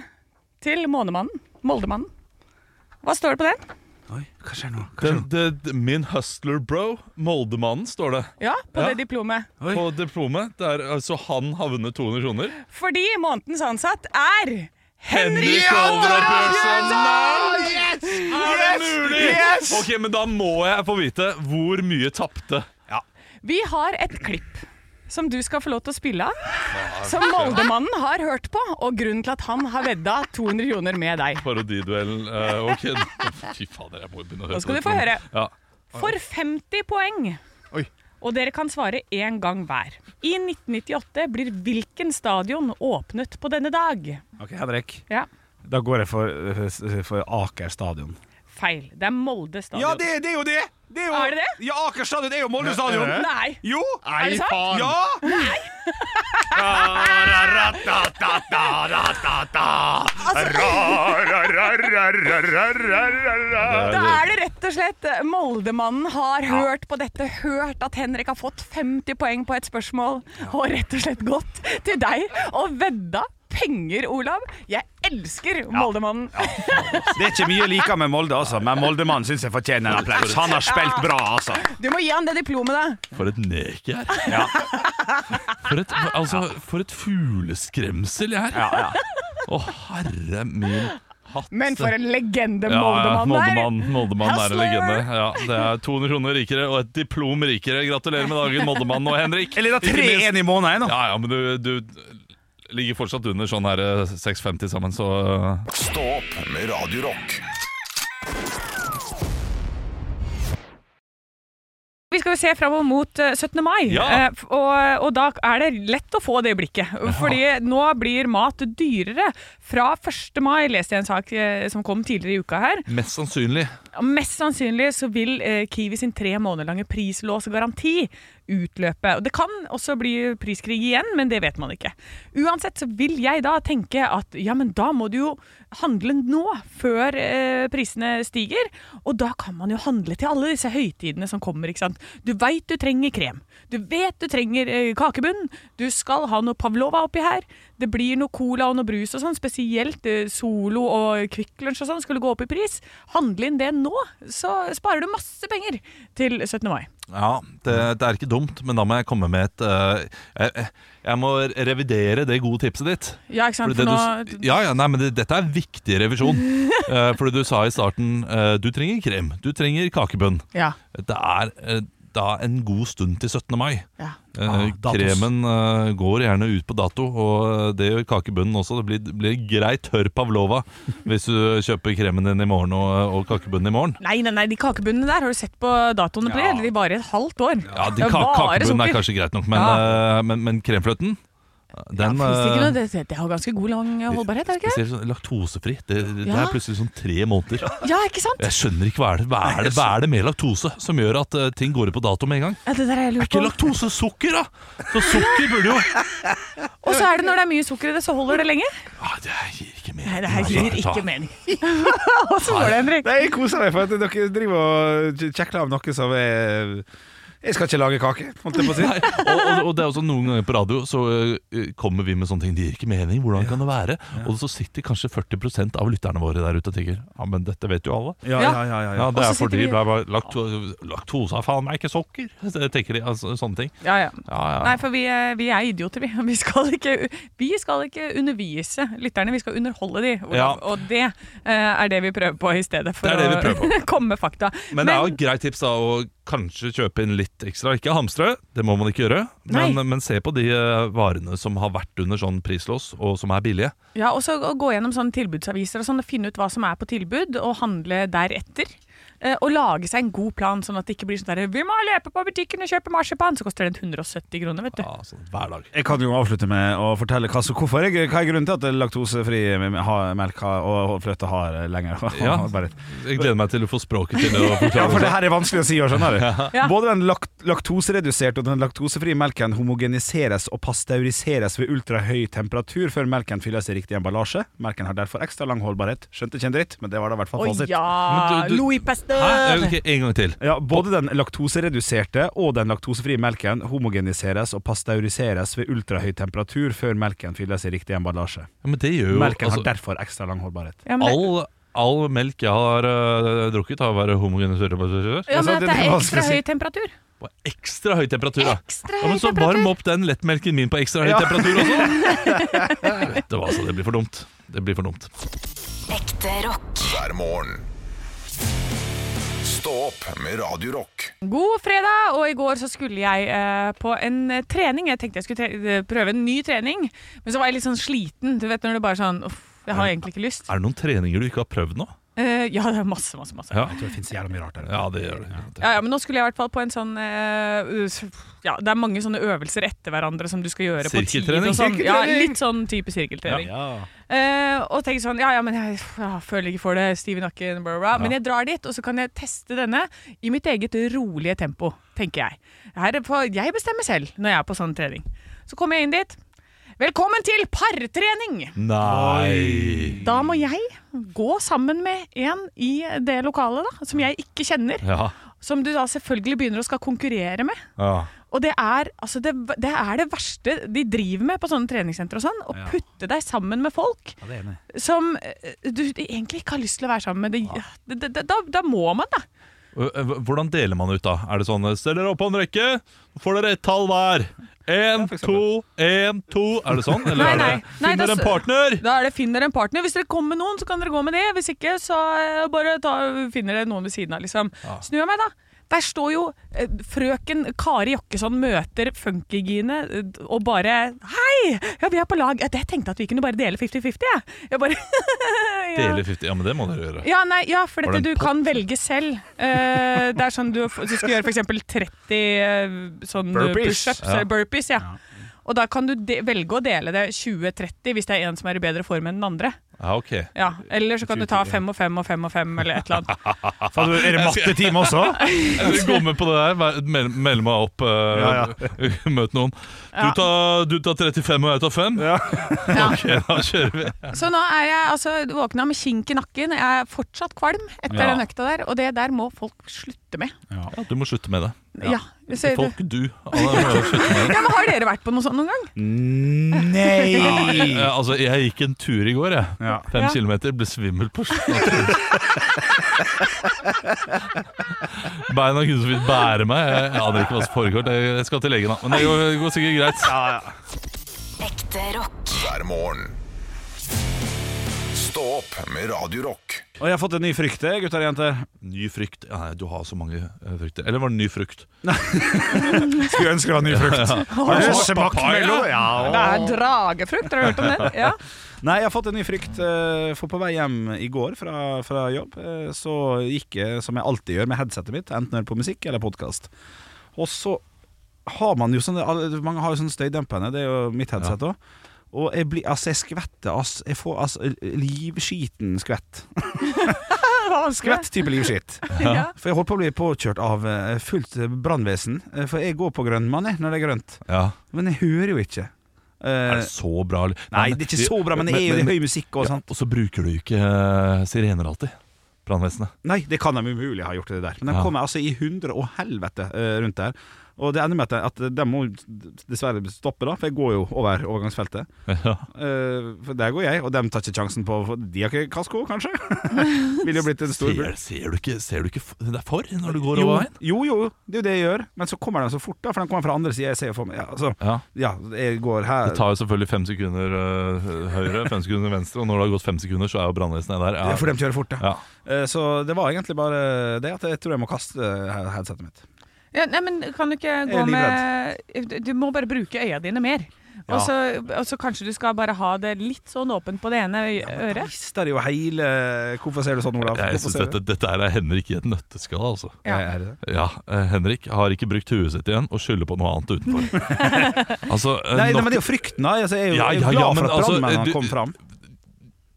Speaker 4: til Månemannen. Moldemannen. Hva står det på den?
Speaker 6: Oi, hva skjer nå? Hva skjer
Speaker 5: Den,
Speaker 6: nå?
Speaker 5: det- det- min hustler bro, Moldemannen, står det
Speaker 4: Ja, på
Speaker 5: Ja.
Speaker 4: det diplomet.
Speaker 6: Oi.
Speaker 5: på diplomet. Det er- altså, han har vunnet 200 kroner.
Speaker 4: Fordi månedens ansatt er Henrik!
Speaker 5: Henrik Olav Bjørnson! Nei! Er det
Speaker 6: Yes!
Speaker 5: mulig?
Speaker 6: Yes!
Speaker 5: Ok, men Da må jeg få vite hvor mye tapte.
Speaker 4: Vi har et klipp som du skal få lov til å spille av. Som Moldemannen har hørt på, og grunnen til at han har vedda 200 kroner med deg.
Speaker 5: Parodiduellen. eh, ok, Fy fader, jeg må jo begynne å høre.
Speaker 4: Nå skal
Speaker 5: på
Speaker 4: du få
Speaker 5: dette.
Speaker 4: høre.
Speaker 5: Ja.
Speaker 4: For 50 poeng.
Speaker 6: Oi.
Speaker 4: Og dere kan svare én gang hver. I 1998 blir hvilken stadion åpnet på denne dag?
Speaker 6: Ok, Henrik.
Speaker 4: Ja,
Speaker 6: Da går jeg for, eh, for Aker stadion.
Speaker 4: Feil. Det er Molde stadion.
Speaker 6: Ja, det, det er jo det! det er, jo,
Speaker 4: Er det det?
Speaker 6: Ja, Aker stadion er jo Molde stadion!
Speaker 4: Nei!
Speaker 6: Jo!
Speaker 4: Er det sant? faen.
Speaker 6: Ja! Altså-
Speaker 4: Da er det rett og slett eh, Moldemannen har hørt på dette, hørt at Henrik har fått 50 poeng på et spørsmål, og rett og slett gått til deg og vedda penger, Olav. Jeg elsker Moldemannen.
Speaker 6: Det er ikke mye jeg liker med Molde, altså, men Moldemannen syns jeg fortjener en applaus. Han har spilt bra, altså.
Speaker 4: Du må gi han det diplomet, da.
Speaker 5: For et nek jeg er. For, et, altså, for et fugleskremsel jeg er. Å, herre min hatt
Speaker 4: Men for en legende
Speaker 5: ja, ja,
Speaker 4: Moldemann er!
Speaker 5: Moldemann, Moldemann er en
Speaker 4: Hustler!
Speaker 5: legende. Ja, det er 200 kroner rikere og et diplom rikere. Gratulerer med dagen, Moldemann og Henrik.
Speaker 6: Eller det
Speaker 5: Ikke minst-
Speaker 6: er 3-1 i måneden.
Speaker 5: Ja, ja, men du, du ligger fortsatt under sånn her eh, 6,50 sammen, så eh,
Speaker 3: Stå opp med Radio Rock.
Speaker 4: Vi skal jo se framover mot eh, 17. mai,
Speaker 5: Ja.
Speaker 4: eh, f- og, og da er det lett å få det blikket. Fordi nå blir mat dyrere. Fra 1. mai leste jeg en sak eh, som kom tidligere i uka her.
Speaker 5: mest sannsynlig
Speaker 4: Og mest sannsynlig så vil eh, Kiwi sin tre måneder lange prislåsgaranti utløpe. Og det kan også bli priskrig igjen, men det vet man ikke. Uansett så vil jeg da tenke at ja, men da må du jo handle nå, før eh, prisene stiger. Og da kan man jo handle til alle disse høytidene som kommer, ikke sant. Du veit du trenger krem. Du vet du trenger eh, kakebunn. Du skal ha noe Pavlova oppi her. Det blir noe cola og noe brus og sånn, spesielt eh, Solo og Kvikk Lunsj og sånn skulle gå opp i pris. Handle inn det nå, så sparer du masse penger til 17. mai.
Speaker 5: Ja, det, det er ikke dumt, men da må jeg komme med et eh, jeg, jeg må revidere det gode tipset ditt.
Speaker 4: Ja, ikke sant?
Speaker 5: Fordi
Speaker 4: For nå,
Speaker 5: det du, s- ja, ja, nei, men det, dette er viktig revisjon. Eh, fordi du sa i starten eh, du trenger krem, du trenger kakebønn.
Speaker 4: ja,
Speaker 5: Det er eh, da en god stund til 17. mai.
Speaker 4: ja.
Speaker 5: Eh,
Speaker 6: Ah, datos.
Speaker 5: kremen eh, går gjerne ut på dato, og eh, det gjør kakebunnen også. Det blir, det blir grei tørr pavlova hvis du kjøper kremen din i morgen og, eh, og kakebunnen i morgen.
Speaker 4: Nei, nei, nei, de kakebunnene der, har du sett på datoene på det? De varer et halvt år.
Speaker 5: Ja, de
Speaker 4: Det er
Speaker 5: ka
Speaker 4: bare
Speaker 5: Kakebunnen er
Speaker 4: sukker.
Speaker 5: kanskje greit nok, men, eh, men, men kremfløten den,
Speaker 4: Finnes det, ikke noe,
Speaker 5: eh,
Speaker 4: det, det har ganske god lang eh, holdbarhet, er det ikke?
Speaker 5: Spesielt sånn laktosefri. Det, det
Speaker 4: Ja.
Speaker 5: er plutselig sånn tre måneder.
Speaker 4: det? Ja, ikke sant?
Speaker 5: Jeg skjønner ikke hva er det Hva er det, hva er det med laktose som gjør at eh, ting går ut på dato med en gang?
Speaker 4: Ja, det der er jeg
Speaker 5: Er
Speaker 4: lurt
Speaker 5: ikke
Speaker 4: på.
Speaker 5: laktose sukker, da? Så sukker burde jo
Speaker 4: Og så er det når det er mye sukker i det, så holder det lenge.
Speaker 5: ah, Det her gir ikke mening.
Speaker 4: Nei, det her gir
Speaker 5: Altså,
Speaker 4: ikke mening. Åssen går det, Henrik?
Speaker 6: Nei, jeg koser meg for at dere driver og kjekler av noe som er Jeg skal ikke lage kake, holdt jeg på å si.
Speaker 5: Nei, og, og, og det er også Noen ganger på radio så eh, kommer vi med sånne ting. Det gir ikke mening. Hvordan kan det være? Og så sitter kanskje 40 av lytterne våre der ute og tenker Ja, men dette vet jo alle.
Speaker 6: Ja, ja, ja, ja, ja.
Speaker 5: Ja, det
Speaker 4: Og
Speaker 5: er
Speaker 4: så sitter
Speaker 5: fordi
Speaker 4: vi-
Speaker 5: bla, bla, lakto, Laktose er faen meg ikke sukker, Det tenker de. Altså, sånne ting.
Speaker 4: Ja, ja.
Speaker 5: Ja, ja.
Speaker 4: Nei, for vi, er- vi er idioter, vi. Vi skal ikke, vi skal ikke undervise lytterne, vi skal underholde de. Olav.
Speaker 5: Ja.
Speaker 4: Og det eh, er det vi prøver på i stedet, for
Speaker 5: Det er det vi
Speaker 4: å komme med fakta.
Speaker 5: Men det er jo et greit tips da å kanskje kjøpe inn litt ekstra. Ikke hamstre, det må man ikke gjøre. Men,
Speaker 4: Nei.
Speaker 5: men se på de eh, varene som har vært under sånn prislås, og som er billige.
Speaker 4: Ja, og så å gå gjennom sånne tilbudsaviser og sånn, og finne ut hva som er på tilbud, og handle deretter. Eh, Og lage seg en god plan, sånn at det ikke blir sånn der Vi må løpe på butikken og kjøpe marsipan! Så koster det 170 kroner, vet du.
Speaker 5: Ja, sånn hver dag.
Speaker 6: Jeg kan jo avslutte med å fortelle hva, som- hvorfor jeg, hva er grunnen til at laktosefri ha- melk har, og fløte har lenger
Speaker 5: Ja.
Speaker 6: holdbarhet.
Speaker 5: Jeg gleder meg til å få språket til å
Speaker 6: Ja, for
Speaker 5: forklare.
Speaker 6: det her er vanskelig å si, og skjønner du.
Speaker 4: Ja.
Speaker 6: Både den lak laktosereduserte og den laktosefrie melken homogeniseres og pasteuriseres ved ultrahøy temperatur før melken fylles i riktig emballasje. Melken har derfor ekstra lang holdbarhet. Skjønte ikke en dritt, men det var da i hvert fall
Speaker 4: Å
Speaker 6: fasit.
Speaker 4: ja!
Speaker 5: Men du- du-
Speaker 4: Louis
Speaker 5: Hæ? Eh,
Speaker 4: Pasteur!
Speaker 5: Ok, en gang til.
Speaker 6: Ja, både den laktosereduserte og den laktosefrie melken homogeniseres og pasteuriseres ved ultrahøy temperatur før melken fylles i riktig emballasje.
Speaker 5: Ja, men det gjør jo
Speaker 6: Melken har
Speaker 5: altså,
Speaker 6: derfor ekstra lang holdbarhet.
Speaker 4: Ja, men-
Speaker 5: all, all melk jeg har eh, drukket, har vært homogenisert.
Speaker 4: Ja, men
Speaker 6: Altså,
Speaker 4: at
Speaker 6: det-
Speaker 4: det
Speaker 6: det
Speaker 4: er
Speaker 6: er vanskelig
Speaker 4: ekstra
Speaker 6: å si.
Speaker 4: høy temperatur.
Speaker 5: På ekstra høy temperatur, da.
Speaker 4: Ekstra
Speaker 5: Ja, men
Speaker 4: høy
Speaker 5: så varm
Speaker 4: temperatur.
Speaker 5: opp den lettmelken min på ekstra høy
Speaker 6: Ja.
Speaker 5: temperatur også. Vet du hva, så det blir for dumt. Det blir for dumt.
Speaker 7: Ekte rock.
Speaker 3: hver morgen. Stå opp med Radio Rock.
Speaker 4: God fredag, og i går så skulle jeg eh, på en eh, trening. Jeg tenkte jeg skulle tre eh, prøve en ny trening, men så var jeg litt sånn sliten. Du vet når du bare sånn Uff, jeg har egentlig ikke lyst.
Speaker 5: Er det noen treninger du ikke har prøvd nå?
Speaker 4: Eh, ja, det er masse, masse, masse.
Speaker 5: Ja,
Speaker 6: Det finnes jævla mye rart der.
Speaker 5: ja det gjør det.
Speaker 4: Ja, ja, men nå skulle jeg i hvert fall på en sånn eh, s- Ja, det er mange sånne øvelser etter hverandre som du skal gjøre på tid og
Speaker 5: Sirkeltrening.
Speaker 4: sånn. Ja,
Speaker 6: Sirkeltrening.
Speaker 4: litt sånn type sirkeltrening. Eh, og tenker sånn Ja, ja, men jeg, jeg føler ikke for det. Stiv i nakken, bla, bla, bla. Men jeg drar dit, og så kan jeg teste denne i mitt eget rolige tempo, tenker jeg. Her, er på- jeg bestemmer selv når jeg er på sånn trening. Så kommer jeg inn dit. Velkommen til partrening!
Speaker 5: Nei
Speaker 4: Da må jeg gå sammen med en i det lokalet, da, som jeg ikke kjenner.
Speaker 5: Ja,
Speaker 4: Som du da selvfølgelig begynner å skal konkurrere med.
Speaker 5: ja.
Speaker 4: Og det er, altså det, det er det verste de driver med på sånne treningssentre og sånn. Å putte deg sammen med folk som eh, du egentlig ikke har lyst til å være sammen med. Det, det, det, da, da må man, da.
Speaker 5: eh, Hvordan deler man ut da? Er det sånn, stell dere opp på en rekke Nå får dere et tall hver én, to, én, to. Er det sånn? Eller
Speaker 4: Nei,
Speaker 5: er det
Speaker 4: nei. Nei,
Speaker 5: Finner
Speaker 4: da
Speaker 5: en
Speaker 4: s-
Speaker 5: partner!
Speaker 4: Da er det 'finner en partner'. Hvis dere kommer med noen, så kan dere gå med det. Hvis ikke, så eh, bare ta, finner dere noen ved siden av, liksom. Snu jeg meg, da. Der står jo eh, frøken Kari Jakkesson møter funkygine eh, og bare 'Hei! Ja, vi er på lag.' Jeg jeg tenkte at vi kunne bare dele 50-50, jeg. jeg bare, ja.
Speaker 5: Dele 50. Ja, men det må dere gjøre.
Speaker 4: Ja, nei, ja, for
Speaker 5: Var det
Speaker 4: dette,
Speaker 5: en
Speaker 4: du
Speaker 5: pott?
Speaker 4: kan velge selv. Eh, det er sånn du, f- du skal gjøre f.eks. 30 eh, sånn
Speaker 6: Burpees.
Speaker 4: pushups
Speaker 5: Ja.
Speaker 4: eller burpees. Ja. Og da kan du de velge å dele det 20-30 hvis det er en som er i bedre form enn den andre.
Speaker 5: Ja, ok.
Speaker 4: Ja, Eller så kan du ta fem og fem og fem og fem eller et eller annet.
Speaker 6: Faen, du, er det mattetime også?
Speaker 5: Jeg skal gå med på det der. Vær- mel- Meld meg opp. eh,
Speaker 6: Ja,
Speaker 5: Møt noen. Du
Speaker 4: Ja.
Speaker 5: tar, du tar 35, og jeg tar 5?
Speaker 6: Ja.
Speaker 5: Ok, da kjører vi.
Speaker 4: Så nå er jeg altså våkna med kink i nakken. Jeg er fortsatt kvalm etter
Speaker 5: Ja.
Speaker 4: den økta der, og det der må folk slutte med.
Speaker 5: Ja, du må slutte med det.
Speaker 4: Ja, så,
Speaker 5: Folk, du. Alle må slutte med det.
Speaker 4: ja men Har dere vært på noe sånt noen gang?
Speaker 6: Nei!
Speaker 5: Eh, altså, jeg gikk en tur i går, jeg.
Speaker 6: Ja.
Speaker 5: Fem
Speaker 4: Ja.
Speaker 5: kilometer, ble svimmel på slutten. av turen. Beina kunne så vidt bære meg. Jeg, jeg aner ikke hva som foregår. Det- Jeg skal til legen, da. Men det går, det går sikkert greit.
Speaker 7: Ekte rock.
Speaker 3: hver morgen. Stå opp med Radio Rock.
Speaker 6: Og jeg har fått en ny frykt, jeg, gutter og jenter.
Speaker 5: Ny frykt. Ja, Nei, du har så mange eh, frykter. Eller var det ny frukt?
Speaker 6: Skulle ønske det var en ny frykt. Har du smakt mellom? Ja,
Speaker 4: Det er dragefrukt, har du hørt om den? Ja.
Speaker 6: Nei, jeg har fått en ny frykt. eh, For på vei hjem i går fra, fra jobb, eh, så gikk jeg som jeg alltid gjør med headsetet mitt, enten hører på musikk eller podkast. Og så har man jo sånne alle- Mange har jo sånne støydempende, det er jo mitt headset òg. Og jeg blir Altså, jeg skvetter. Altså, jeg får altså livskiten skvett. skvett type livskitt.
Speaker 4: Ja.
Speaker 6: For jeg holdt på å bli påkjørt av eh, fullt brannvesen. eh, For jeg går på grønnmann jeg, når det er grønt.
Speaker 5: Ja.
Speaker 6: Men jeg hører jo ikke.
Speaker 5: Er
Speaker 6: Eh,
Speaker 5: det så bra? eller?
Speaker 6: Nei, det er ikke så bra, men det er jo det er høy musikk og sånn.
Speaker 5: Ja,
Speaker 6: sånt.
Speaker 5: og så bruker du ikke eh, sirener alltid. Brannvesenet.
Speaker 6: Nei, det kan de umulig ha gjort det der. Men de
Speaker 5: Ja.
Speaker 6: kommer altså i hundre og helvete eh, rundt der. Og det ender med at, at de må dessverre stoppe, da, for jeg går jo over overgangsfeltet.
Speaker 5: Ja.
Speaker 6: Eh, for der går jeg, og de tar ikke sjansen på for De har ikke kasko, kanskje? Ville jo blitt en stor
Speaker 5: Ser, ser, du ikke, ser du ikke f- det er for når du går
Speaker 6: Jo,
Speaker 5: over veien?
Speaker 6: jo, jo, det er jo det jeg gjør. Men så kommer de så fort, da, for de kommer fra andre sida. Jeg ser jo for meg ja, altså,
Speaker 5: Ja.
Speaker 6: ja, jeg går
Speaker 5: Det
Speaker 6: her
Speaker 5: tar jo selvfølgelig fem sekunder øh, høyre, fem sekunder venstre, og når det har gått fem sekunder, så er jo brannvesenet der. Ja.
Speaker 6: For de kjører fort, da.
Speaker 5: Ja.
Speaker 6: Eh, Så det var egentlig bare det at jeg tror jeg må kaste eh, headsetet mitt.
Speaker 4: Ja, nei, men kan du ikke gå
Speaker 6: er
Speaker 4: med Du må bare bruke øya dine mer.
Speaker 6: Ja.
Speaker 4: Og, så, og så kanskje du skal bare ha det litt sånn åpent på det ene øy- øret.
Speaker 6: Rister jo hele Hvorfor ser du sånn, Olav?
Speaker 5: Jeg
Speaker 6: Hvorfor
Speaker 5: synes
Speaker 6: ser du-
Speaker 5: dette, dette her er Henrik i et nøtteskall, altså.
Speaker 4: Ja.
Speaker 6: Er det det?
Speaker 5: Ja, eh, Henrik har ikke brukt huet sitt igjen og skylder på noe annet utenfor. altså, eh,
Speaker 6: Nei, nei,
Speaker 5: nok-
Speaker 6: men det er jo frykten, da. Altså, jeg er jo
Speaker 5: Ja,
Speaker 6: jeg er
Speaker 5: ja,
Speaker 6: glad
Speaker 5: ja,
Speaker 6: for
Speaker 5: men
Speaker 6: at
Speaker 5: altså,
Speaker 6: brannmennene
Speaker 5: du-
Speaker 6: kom fram.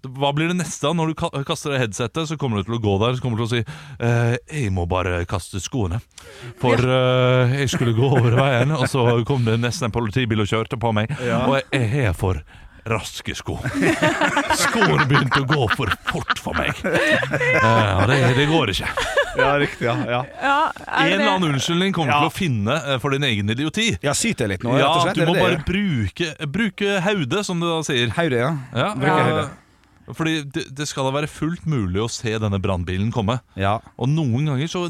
Speaker 5: hva blir det neste da? Når du ka- kaster deg headsetet, så kommer du til å gå der, så kommer du til å si eh, Jeg må bare kaste skoene. For eh, jeg skulle gå over veien, og så kom det nesten en politibil og kjørte på meg. Og jeg er her for raske sko. Skoene begynte å gå for fort for meg. Eh, og det, det går ikke.
Speaker 6: Ja, riktig. Ja, ja.
Speaker 4: Ja,
Speaker 5: En
Speaker 4: er det
Speaker 5: eller
Speaker 4: det?
Speaker 5: annen unnskyldning kommer du
Speaker 6: Ja.
Speaker 5: til å finne eh, for din egen idioti.
Speaker 6: ja syt jeg litt nå, rett
Speaker 5: Ja,
Speaker 6: og slett.
Speaker 5: du må
Speaker 6: er
Speaker 5: bare
Speaker 6: det det
Speaker 5: bruke, bruke haudet, som du da sier.
Speaker 6: jeg gjør? Høyre, ja.
Speaker 5: Ja,
Speaker 6: Bruker
Speaker 5: eh,
Speaker 6: høyre.
Speaker 5: Fordi det, det skal da være fullt mulig å se denne brannbilen komme.
Speaker 6: ja.
Speaker 5: Og noen ganger så,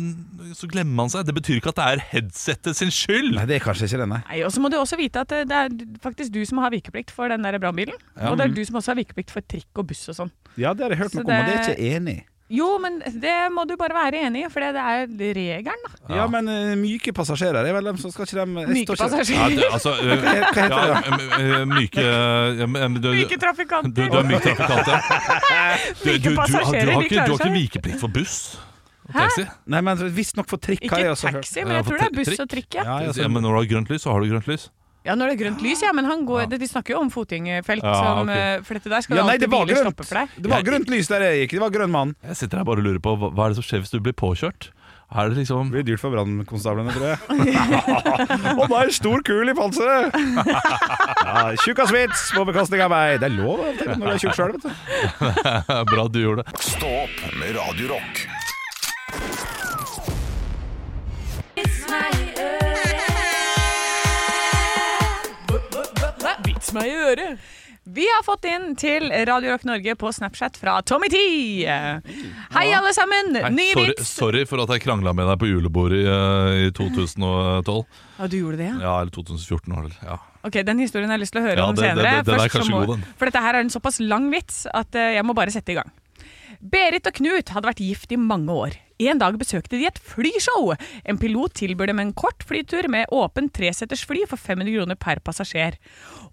Speaker 5: så glemmer man seg. Det betyr ikke at det er headsetet sin skyld.
Speaker 6: Nei, det er kanskje ikke det, nei.
Speaker 4: Nei, Og så må du også vite at det det er faktisk du som har vikeplikt for den der brannbilen. Og det er du som også har vikeplikt for trikk og buss og sånn.
Speaker 6: Ja, det har jeg hørt
Speaker 4: Så
Speaker 6: noe om, og det er
Speaker 4: det-
Speaker 6: jeg ikke enig i.
Speaker 4: Jo, men det må du bare være enig i, for det det er regelen, da.
Speaker 6: Ja, men eh, myke passasjerer er vel dem som skal ikke dem jeg
Speaker 4: Myke
Speaker 6: står ikke-
Speaker 5: Ja, det,
Speaker 4: passasjerer.
Speaker 5: altså, øh,
Speaker 6: Hva heter det
Speaker 5: ja,
Speaker 6: da?
Speaker 5: m- m- myke ja, men du, du,
Speaker 4: Myke
Speaker 5: du, du
Speaker 4: trafikanter.
Speaker 5: er myk trafikant, ja. Du, du, du, har- du,
Speaker 4: passasjerer,
Speaker 5: har
Speaker 4: de
Speaker 5: ikke, du har
Speaker 4: klarer
Speaker 5: ikke
Speaker 4: seg.
Speaker 5: vikeplikt for buss og taxi.
Speaker 6: Nei, men visstnok for trikk har jeg
Speaker 4: Ikke
Speaker 6: også hørt.
Speaker 4: taxi, men jeg tror det er buss og trikk. ja.
Speaker 6: Ja, jeg,
Speaker 5: Ja, men når du har grønt lys, så har du grønt lys.
Speaker 4: Ja, når det er grønt lys, ja, men han går, det- de snakker jo om fotgjengerfelt.
Speaker 5: Ja,
Speaker 4: som,
Speaker 5: ok.
Speaker 4: eh, For dette der skal
Speaker 6: ja,
Speaker 4: jo
Speaker 6: nei, det
Speaker 4: alltid
Speaker 6: var
Speaker 4: biler
Speaker 6: grønt.
Speaker 4: stoppe for deg.
Speaker 6: Det var grønt lys der jeg gikk. Det var grønn mann.
Speaker 5: Jeg sitter her bare og lurer på hva, hva er det som skjer hvis du blir påkjørt? Er det liksom
Speaker 6: Det blir dyrt for brannkonstablene, tror jeg. Å nei, stor kul i panseret! ja, Tjukk av svits på bekostning av meg. Det er lov av og til når du er tjukk sjøl, vet du.
Speaker 5: Bra du gjorde det.
Speaker 3: Stå opp med Radio Rock.
Speaker 4: Vits meg i øret! Vi har fått inn til Radio Rock Norge på Snapchat fra Tommy T. Hei, alle sammen! Ny
Speaker 5: Nei, sorry,
Speaker 4: vits!
Speaker 5: sorry for at jeg krangla med deg på julebordet i, eh, i 2012.
Speaker 4: Ja, du gjorde det, ja?
Speaker 5: Ja, eller 2014 var det vel. Ja.
Speaker 4: Ok, Den historien har jeg lyst til å høre
Speaker 5: Ja,
Speaker 4: om
Speaker 5: det- det-
Speaker 4: senere.
Speaker 5: det- den er
Speaker 4: Først så
Speaker 5: kanskje
Speaker 4: må,
Speaker 5: god, den.
Speaker 4: For dette her er en såpass lang vits at eh, jeg må bare sette i gang. Berit og Knut hadde vært gift i mange år. En dag besøkte de et flyshow. En pilot tilbød dem en kort flytur med åpen treseters fly for 500 kroner per passasjer.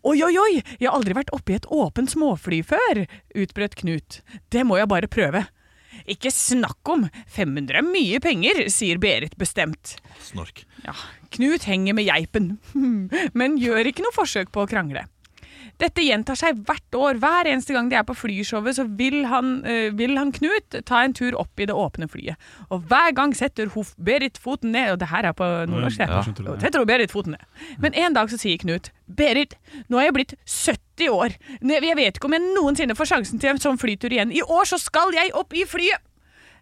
Speaker 4: Oi, oi, oi, jeg har aldri vært oppe i et åpent småfly før, utbrøt Knut. Det må jeg bare prøve. Ikke snakk om, 500 er mye penger, sier Berit bestemt.
Speaker 5: Snork.
Speaker 4: Ja, Knut henger med geipen, men gjør ikke noe forsøk på å krangle. Dette gjentar seg hvert år. Hver eneste gang de er på flyshowet, så vil han, eh, vil han Knut ta en tur opp i det åpne flyet. Og hver gang setter Hoff Berit foten ned Og det her er på nordnorsk, det.
Speaker 5: Ja.
Speaker 4: Setter hun Berit foten ned. Men en dag så sier Knut Berit, nå er jeg blitt 70 år. Ne- Jeg vet ikke om jeg noensinne får sjansen til en sånn flytur igjen. I år så skal jeg opp i flyet!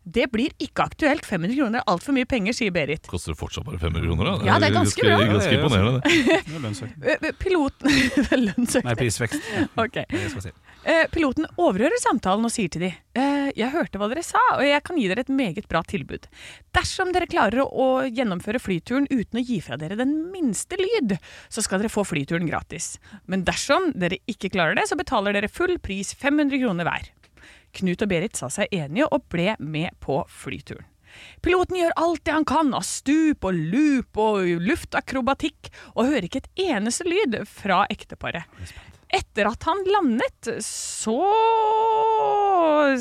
Speaker 4: Det blir ikke aktuelt. 500 kroner er altfor mye penger, sier Berit.
Speaker 5: Koster det fortsatt bare 500 kroner? da?
Speaker 4: Ja, det er ganske bra.
Speaker 5: Ganske, ganske imponerende. det. sånn.
Speaker 6: Det er lønnsøkning.
Speaker 4: Eh, eh, Piloten Det er lønnsøkning.
Speaker 6: Nei, prisvekst.
Speaker 4: Ok.
Speaker 6: Det skal jeg si.
Speaker 4: Eh, Piloten overhører samtalen og sier til de eh, Jeg hørte hva dere sa, og jeg kan gi dere et meget bra tilbud. Dersom dere klarer å, å gjennomføre flyturen uten å gi fra dere den minste lyd, så skal dere få flyturen gratis. Men dersom dere ikke klarer det, så betaler dere full pris 500 kroner hver. Knut og Berit sa seg enige og ble med på flyturen. Piloten gjør alt det han kan av stup og loop og luftakrobatikk, og hører ikke et eneste lyd fra ekteparet. Etter at han landet, så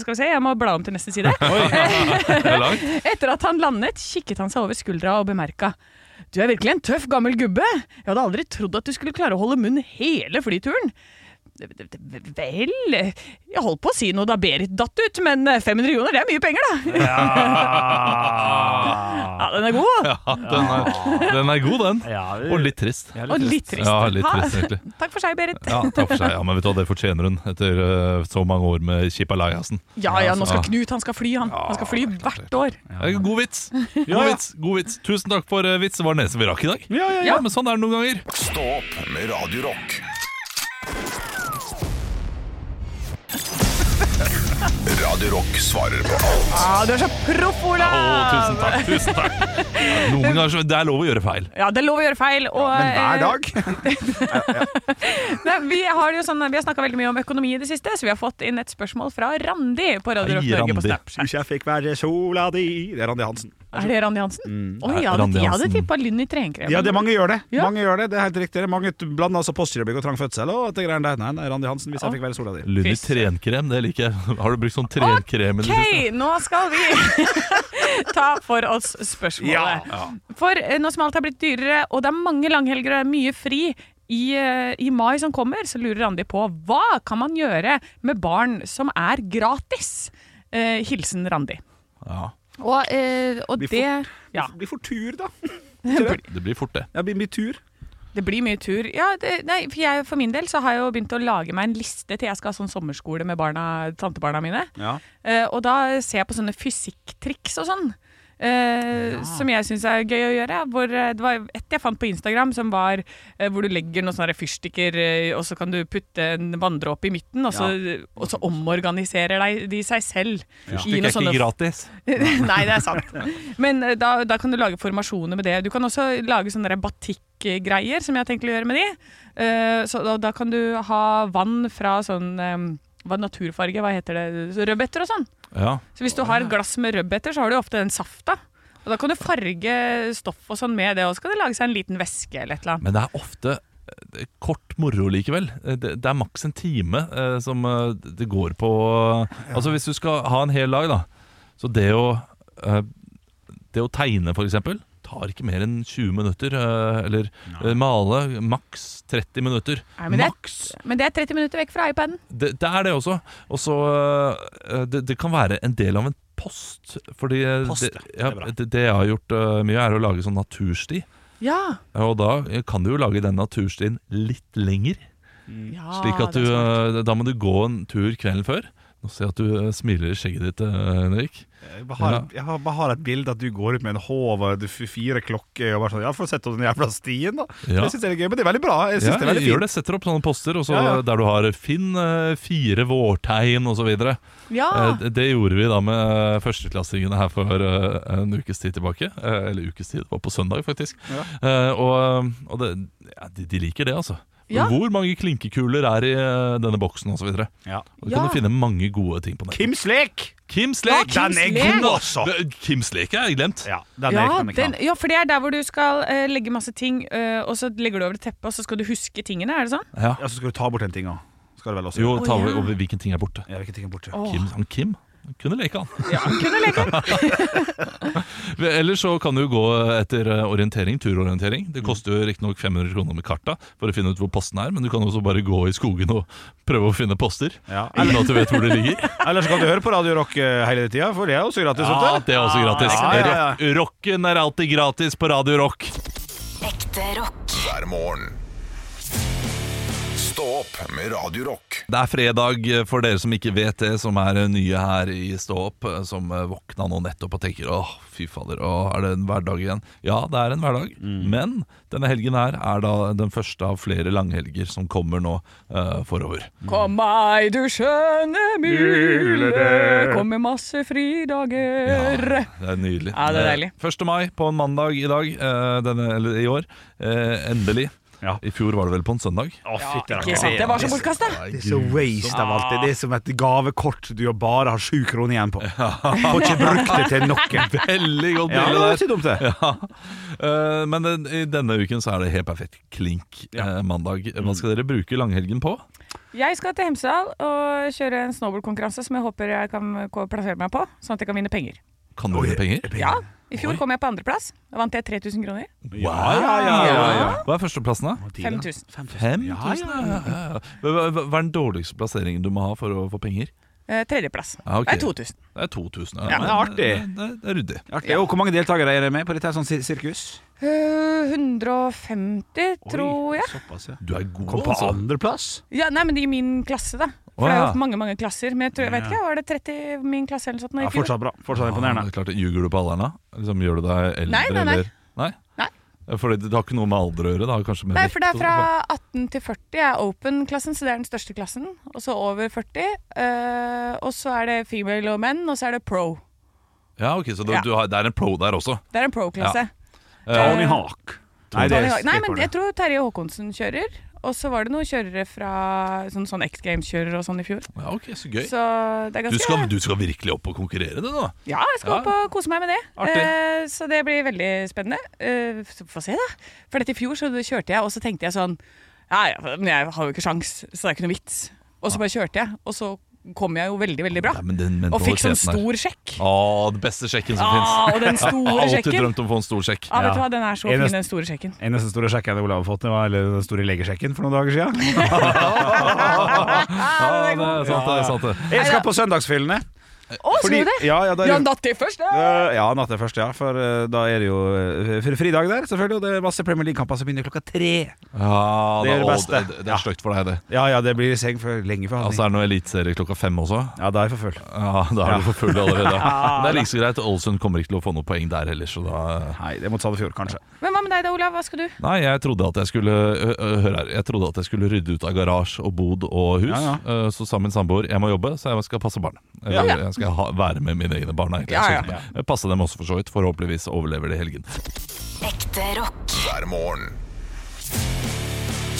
Speaker 4: Skal vi se, jeg må bla om til neste side.
Speaker 5: Det er langt.
Speaker 4: Etter at han landet, kikket han seg over skuldra og bemerka. Du er virkelig en tøff, gammel gubbe. Jeg hadde aldri trodd at du skulle klare å holde munn hele flyturen. Vel Jeg holdt på å si noe da Berit datt ut, men 500 kroner, det er mye penger, da. Ja, den er god.
Speaker 5: Ja, den er, den er god, den.
Speaker 10: Ja,
Speaker 5: Og litt trist. Ja,
Speaker 4: Og litt trist.
Speaker 5: litt
Speaker 4: Ha-
Speaker 5: trist egentlig.
Speaker 4: Takk for seg, Berit.
Speaker 5: Ja, takk for seg. Ja, men vet du hva, det fortjener hun etter eh, så mange år med Chipalayasen.
Speaker 4: Ja ja, nå skal
Speaker 5: Ja.
Speaker 4: Knut, han skal fly, han. Han skal fly hvert år.
Speaker 5: Ja, God vits! God vits, god vits. Tusen takk for eh, vits. Det var den eneste vi rakk i dag. Ja, Men sånn er det noen ganger.
Speaker 3: Stå opp med Radio Rock. Radio Rock svarer på alt
Speaker 4: Ja, du er så proff,
Speaker 5: Å,
Speaker 4: Olav!
Speaker 5: tusen takk. Tusen takk. Ja, Noen ganger så, Det er lov å gjøre feil.
Speaker 4: Ja, det er lov å gjøre feil. Og,
Speaker 6: Men
Speaker 4: eh,
Speaker 6: hver dag?
Speaker 4: Nei, vi har, det jo sånn, vi har snakka veldig mye om økonomi i det siste, så vi har fått inn et spørsmål fra Randi på Radio Rock
Speaker 5: Hei,
Speaker 4: Norge på
Speaker 5: Randi.
Speaker 4: Snap.
Speaker 6: Hvis jeg fikk være sola di Det er Randi Hansen.
Speaker 4: Er det Randi Hansen? Oi,
Speaker 5: Mm. Ja,
Speaker 4: jeg hadde,
Speaker 5: Randi
Speaker 4: jeg hadde
Speaker 5: Hansen.
Speaker 4: tippa Lynn i trenkremen.
Speaker 6: Ja, det mange gjør det.
Speaker 4: Ja.
Speaker 6: Mange gjør det, det er helt riktig. Mange blander altså Posterøybygg og trang fødsel og det greiene der. Nei, nei, Randi Hansen, hvis jeg fikk være sola di.
Speaker 5: Lund i
Speaker 4: Fysj.
Speaker 5: trenkrem, det liker jeg. Har du brukt sånn trenkrem i det siste?
Speaker 4: Ok, nå skal vi ta for oss spørsmålet. For eh, nå som alt er blitt dyrere, og det er mange langhelger og det er mye fri i, eh, i mai som kommer, så lurer Randi på hva kan man gjøre med barn som er gratis? Eh, hilsen Randi.
Speaker 5: Ja,
Speaker 4: Og, eh, og
Speaker 6: Vi
Speaker 4: det
Speaker 6: får-
Speaker 4: ja.
Speaker 6: Det blir for tur, da.
Speaker 5: det blir fort, det.
Speaker 6: Ja, det blir mye tur.
Speaker 4: Det blir mye tur. Ja, det, nei, for, jeg, for min del så har jeg jo begynt å lage meg en liste til jeg skal ha sånn sommerskole med barna, tantebarna mine.
Speaker 6: Ja.
Speaker 4: Eh, og da ser jeg på sånne fysikktriks og sånn. eh, Som jeg syns er gøy å gjøre. Hvor, eh, det var et jeg fant på Instagram som var eh, hvor du legger noen sånne fyrstikker, eh, og så kan du putte en vanndråpe i midten, og så, og så omorganiserer de, de seg selv. i noen sånne-
Speaker 5: gratis.
Speaker 4: Nei, det er sant. Men eh, da, da kan du lage formasjoner med det. Du kan også lage sånne der batikkgreier, som jeg har tenkt å gjøre med de. Eh, så da, da kan du ha vann fra sånn eh, hva naturfarge, hva heter det, Så rødbeter og sånn.
Speaker 5: Ja.
Speaker 4: Så hvis du har et glass med rødbeter, så har du ofte den safta. Og da kan du farge stoff og sånn med det, og så kan det lage seg en liten væske eller et eller annet.
Speaker 5: Men det er ofte eh, det er kort moro likevel. Eh, Det, det er maks en time eh, som eh, det går på Altså Hvis du skal ha en hel dag, da. Så det å, eh, det å tegne, for eksempel, tar ikke mer enn 20 minutter. eh, Eller eh, male maks 30 minutter.
Speaker 4: Nei, men det er-
Speaker 5: maks!
Speaker 4: Men det er 30 minutter vekk fra iPaden.
Speaker 5: Det, det er det også. Og så øh, det, det kan være en del av en post. Fordi øh,
Speaker 6: Post, ja.
Speaker 5: det, ja,
Speaker 6: Det er bra.
Speaker 5: det, det jeg har gjort øh, mye, er å lage sånn natursti.
Speaker 4: Ja.
Speaker 5: Og da kan du jo lage den
Speaker 6: Ah,
Speaker 5: eh, naturstien litt lenger. Slik at du, øh, da må du gå en tur kvelden før. Nå ser jeg at du eh, smiler i skjegget ditt, eh, Henrik.
Speaker 6: Jeg bare har, jeg har- bare har et bilde at du går ut med en håv og du f- fire klokker og bare sånn Ja, får sette oss den jævla stien, da.
Speaker 5: Ja.
Speaker 6: Jeg syns det er gøy, men det er veldig bra. Jeg synes
Speaker 5: Ja,
Speaker 6: det er veldig
Speaker 5: gjør
Speaker 6: fint.
Speaker 5: det, Setter opp sånne poster og så
Speaker 6: Ja, ja.
Speaker 5: der du har 'Finn eh, fire vårtegn' osv.
Speaker 8: Ja.
Speaker 5: Eh, Det det gjorde vi da med eh, førsteklassingene her for eh, en ukes tid tilbake. Eh, Eller ukes tid, det var på søndag, faktisk. Eh, Og, og det, ja, de, de liker det, altså.
Speaker 8: Ja.
Speaker 5: Hvor mange klinkekuler er i eh, denne boksen osv.
Speaker 6: Ja.
Speaker 5: Du kan
Speaker 8: Ja.
Speaker 5: jo finne mange gode ting på nettet.
Speaker 6: Kims lek!
Speaker 5: Kims lek!
Speaker 6: Ja, den er Kims god, lek! altså.
Speaker 5: Det- Kims lek har jeg glemt.
Speaker 6: Ja, den
Speaker 8: Ja,
Speaker 6: leken er
Speaker 8: den,
Speaker 6: knall.
Speaker 8: ja, for det er der hvor du skal eh, legge masse ting, eh, og så legger du over et teppe, og så skal du huske tingene. Er det sånn?
Speaker 5: Ja.
Speaker 6: Ja, så skal du ta bort den tinga. Skal du vel også
Speaker 5: Jo, ta
Speaker 8: Å, ja.
Speaker 5: over hvilken ting er borte.
Speaker 6: Jeg vil ikke tinga bort.
Speaker 5: Kim, han Kim han kunne leke, han.
Speaker 8: Kunne legge den.
Speaker 5: Ellers så kan du gå etter eh, orientering, turorientering.
Speaker 6: Mm.
Speaker 5: Det koster jo riktignok 500 kroner med karta for å finne ut hvor posten er, men du kan også bare gå i skogen og prøve å finne poster.
Speaker 6: Ja.
Speaker 5: Uten at du vet hvor det ligger.
Speaker 6: Ellers kan du høre på Radio Rock eh, hele tida, for det er også gratis.
Speaker 5: Ja,
Speaker 6: vet du.
Speaker 5: det er også gratis.
Speaker 6: Ja, ja, ja.
Speaker 5: Rock- Rocken er alltid gratis på Radio Rock.
Speaker 7: Ekte rock.
Speaker 3: hver morgen. Stå opp med Radio Rock.
Speaker 5: Det er fredag eh, for dere som ikke vet det, som er eh, nye her i Stå opp, eh, som våkna nå nettopp og tenker åh, fy fader, åh, er det en hverdag igjen? Ja, det er en hverdag,
Speaker 4: Mm.
Speaker 5: men denne helgen her er da den første av flere langhelger som kommer nå eh, forover.
Speaker 4: Kom meg, du skjønne mule, kom med masse fridager.
Speaker 5: Det er nydelig.
Speaker 4: Ja, det er deilig.
Speaker 5: Eh, 1. mai på en mandag i dag, eh, denne, eller i år. Eh, endelig.
Speaker 6: Ja.
Speaker 5: I fjor var det vel på en søndag?
Speaker 6: Å, fytti
Speaker 4: Ikke sant, Det var så bortkasta!
Speaker 6: Det er så waste av alt det. Det er som et gavekort du jo bare har sju kroner igjen på. Får ikke brukt det til noe. Ja,
Speaker 5: Veldig godt
Speaker 6: det
Speaker 5: bilde
Speaker 6: var
Speaker 5: der.
Speaker 6: ikke dumt, det.
Speaker 5: Ja. Eh, Men den, i denne uken så er det helt perfekt klink
Speaker 6: Ja.
Speaker 5: eh, mandag. Hva skal dere bruke langhelgen på?
Speaker 4: Jeg skal til Hemsedal og kjøre en snowboardkonkurranse som jeg håper jeg kan ko- plassere meg på, sånn at jeg kan vinne penger.
Speaker 5: Kan du vinne penger?
Speaker 4: Ja, I fjor kom jeg på andreplass. Da vant jeg 3000 kroner.
Speaker 5: Wow. Ja, ja, ja, Hva er førsteplassen, da?
Speaker 4: 5000.
Speaker 5: 5000? Ja, ja, ja. Hva hva- hva er den dårligste plasseringen du må ha for å få penger?
Speaker 4: Eh, tredjeplass.
Speaker 5: Ja, ok.
Speaker 4: Det er 2000.
Speaker 5: Det er 2000.
Speaker 6: Ja, men det er
Speaker 5: eh, Det,
Speaker 6: artig.
Speaker 5: det, det er ryddig.
Speaker 6: Artig. Og hvor mange deltakere er det med på dette her sånn sir- sirkus?
Speaker 4: Eh, 150, tror jeg.
Speaker 6: Såpass, ja.
Speaker 5: Du er god,
Speaker 6: Kom på
Speaker 5: altså.
Speaker 6: andreplass?
Speaker 4: Ja, nei, men i min klasse, da.
Speaker 5: Å,
Speaker 4: For det er
Speaker 5: ja.
Speaker 4: jo mange mange klasser. Men jeg, tror, jeg vet ikke, var det 30 i min klasse eller noe sånt? nå i
Speaker 6: Ja,
Speaker 4: fjor?
Speaker 6: fortsatt bra. Fortsatt
Speaker 5: Ja, det
Speaker 6: imponerende.
Speaker 5: er klart, det. Ljuger du på alderen, da? Liksom, gjør du deg eldre,
Speaker 4: Nei, nei, nei.
Speaker 5: eller Nei?
Speaker 4: Nei.
Speaker 5: Fordi det har ikke noe med alder å gjøre? Det har kanskje med
Speaker 4: Nei,
Speaker 5: vekt
Speaker 4: for det
Speaker 5: og
Speaker 4: er
Speaker 5: sånt.
Speaker 4: fra 18 til 40 er open-klassen, så det er den største klassen. Og så over 40. eh, og så er det female og menn, og så er det pro.
Speaker 5: sånn. Ja, ok, Så du,
Speaker 4: Ja.
Speaker 5: du har, det er en pro der også?
Speaker 4: Det er en pro-klasse.
Speaker 6: Tony Hawk. Nei, det
Speaker 4: Tony
Speaker 6: er
Speaker 4: Hawk- Nei, men
Speaker 6: skateboarder.
Speaker 4: jeg tror Terje Håkonsen kjører. Og så var det noen kjørere fra sånn, sånn X Games-kjørere og sånn i fjor.
Speaker 5: Ja, ok, Så gøy.
Speaker 4: Så det er
Speaker 5: Du
Speaker 4: ganske
Speaker 5: skal, du skal virkelig opp og konkurrere, du nå?
Speaker 4: Ja, jeg skal
Speaker 5: Ja.
Speaker 4: opp og kose meg med det.
Speaker 5: Artig.
Speaker 4: Eh, så det blir veldig spennende. Eh, så Få se, da. For dette i fjor så kjørte jeg, og så tenkte jeg sånn Ja, ja, men jeg har jo ikke sjans, så det er ikke noe vits. Og så bare kjørte jeg, og så kom jeg jo veldig, veldig bra.
Speaker 5: Nei, men den
Speaker 4: Og fikk sånn
Speaker 5: mentaliteten her.
Speaker 4: stor sjekk.
Speaker 5: Å, den beste sjekken som fins.
Speaker 4: Ah, og
Speaker 5: Jeg
Speaker 4: den store
Speaker 5: har alltid
Speaker 4: sjekken.
Speaker 5: drømt om å få en stor sjekk.
Speaker 4: Ja, vet du hva, den er så
Speaker 6: Eneste-
Speaker 4: fin, den store sjekken.
Speaker 6: Eneste store sjekken Olav har fått, det var eller den store legesjekken for noen dager siden.
Speaker 5: Ja, det er sant, det. er sant det.
Speaker 6: Jeg skal på søndagsfyllene.
Speaker 4: Å, så du det?
Speaker 6: ja, ja, da er
Speaker 4: Du
Speaker 6: det-
Speaker 4: har datt til først, da!
Speaker 6: Eh, Ja, natt til først, ja. For eh, da er det jo eh, fri- fridag der, selvfølgelig. Og det er masse Premier League-kamper som begynner klokka tre.
Speaker 5: Ja,
Speaker 6: Det er det
Speaker 5: da- å,
Speaker 6: beste.
Speaker 5: Det, det er stygt for deg, det.
Speaker 6: Ja, ja, det blir i seng for lenge for
Speaker 5: Altså,
Speaker 6: han.
Speaker 5: Er det noe eliteserie klokka fem også?
Speaker 6: Ja, da er jeg for full.
Speaker 5: Ja, Da er du for full allerede. Men det er like så greit. Ålesund kommer ikke til å få noe poeng der heller, så da
Speaker 6: Nei, det er mot Sandefjord, kanskje.
Speaker 4: Men hva med deg da, Olav? Hva skal du?
Speaker 5: Nei, jeg trodde at jeg skulle ø, ø, Hør her, jeg trodde at jeg skulle rydde ut av garasje og bod og hus.
Speaker 6: Ja,
Speaker 5: Ø, Så sammen med samboer Jeg må jobbe, så jeg skal passe barn. Eller, Jeg skal ha, være med mine egne barn. egentlig.
Speaker 4: Ja, ja.
Speaker 5: Så jeg Passe dem også, for så vidt. Forhåpentligvis overlever de helgen.
Speaker 7: Ekte rock.
Speaker 3: hver morgen.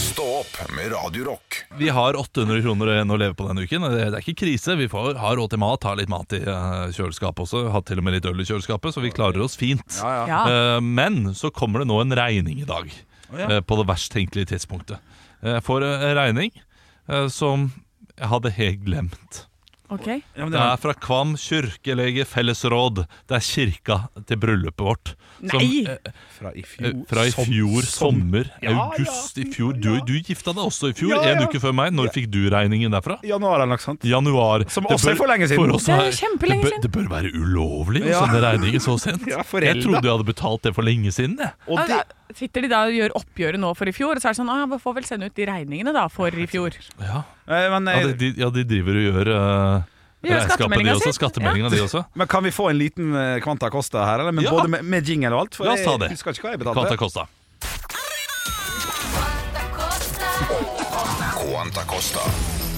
Speaker 3: Stå opp med Radio Rock.
Speaker 5: Vi har 800 kroner igjen å leve på denne uken. Det det er ikke krise. Vi får ha råd til mat, ha litt mat i eh, kjøleskapet også. Ha til og med litt øl i kjøleskapet, så vi klarer oss fint. Eh, Men så kommer det nå en regning i dag, eh, på det verst tenkelige tidspunktet. Eh, Jeg får en regning eh, som jeg hadde helt glemt.
Speaker 4: Ok.
Speaker 5: Det er fra Kvam kirkelege fellesråd. Det er kirka til bryllupet vårt. Som,
Speaker 4: Nei!
Speaker 5: eh,
Speaker 6: Fra i
Speaker 5: Eh,
Speaker 6: fjor,
Speaker 5: Fra i
Speaker 6: som-
Speaker 5: fjor
Speaker 6: som-
Speaker 5: sommer,
Speaker 6: Ja, ja.
Speaker 5: august i fjor. Du, du gifta deg også i fjor,
Speaker 6: Ja, ja.
Speaker 5: en uke før meg. Når fikk du regningen derfra?
Speaker 6: Januar eller noe sånt.
Speaker 5: Januar.
Speaker 6: Som
Speaker 5: Det
Speaker 6: også er for lenge siden.
Speaker 5: oss
Speaker 4: Det er kjempelenge
Speaker 5: det bør-
Speaker 4: siden.
Speaker 5: Det bør være ulovlig å
Speaker 6: Ja.
Speaker 5: sende regninger så sent.
Speaker 6: Ja, foreldre.
Speaker 5: jeg trodde jeg hadde betalt det for lenge siden. Jeg.
Speaker 6: Og
Speaker 4: Ah, Ja,
Speaker 6: det,
Speaker 4: da Sitter de da og gjør oppgjøret nå for i fjor, og så er det sånn ah, ja, Vi får vel sende ut de regningene da for i fjor.
Speaker 5: Ja.
Speaker 6: eh, men
Speaker 5: Ja,
Speaker 6: eh,
Speaker 5: de, de, ja, de driver og gjør eh,
Speaker 4: Vi gjør
Speaker 5: de
Speaker 4: skattemeldinga
Speaker 5: også. Skattemeldinga de også.
Speaker 6: Men kan vi få en liten eh, Kvanta Costa her, eller? Men
Speaker 5: Ja.
Speaker 6: både med, med jingle og alt? For
Speaker 5: La oss ta det.
Speaker 6: Jeg husker ikke hva jeg
Speaker 5: Quanta
Speaker 6: betalte.
Speaker 5: Costa.
Speaker 3: Quanta Costa.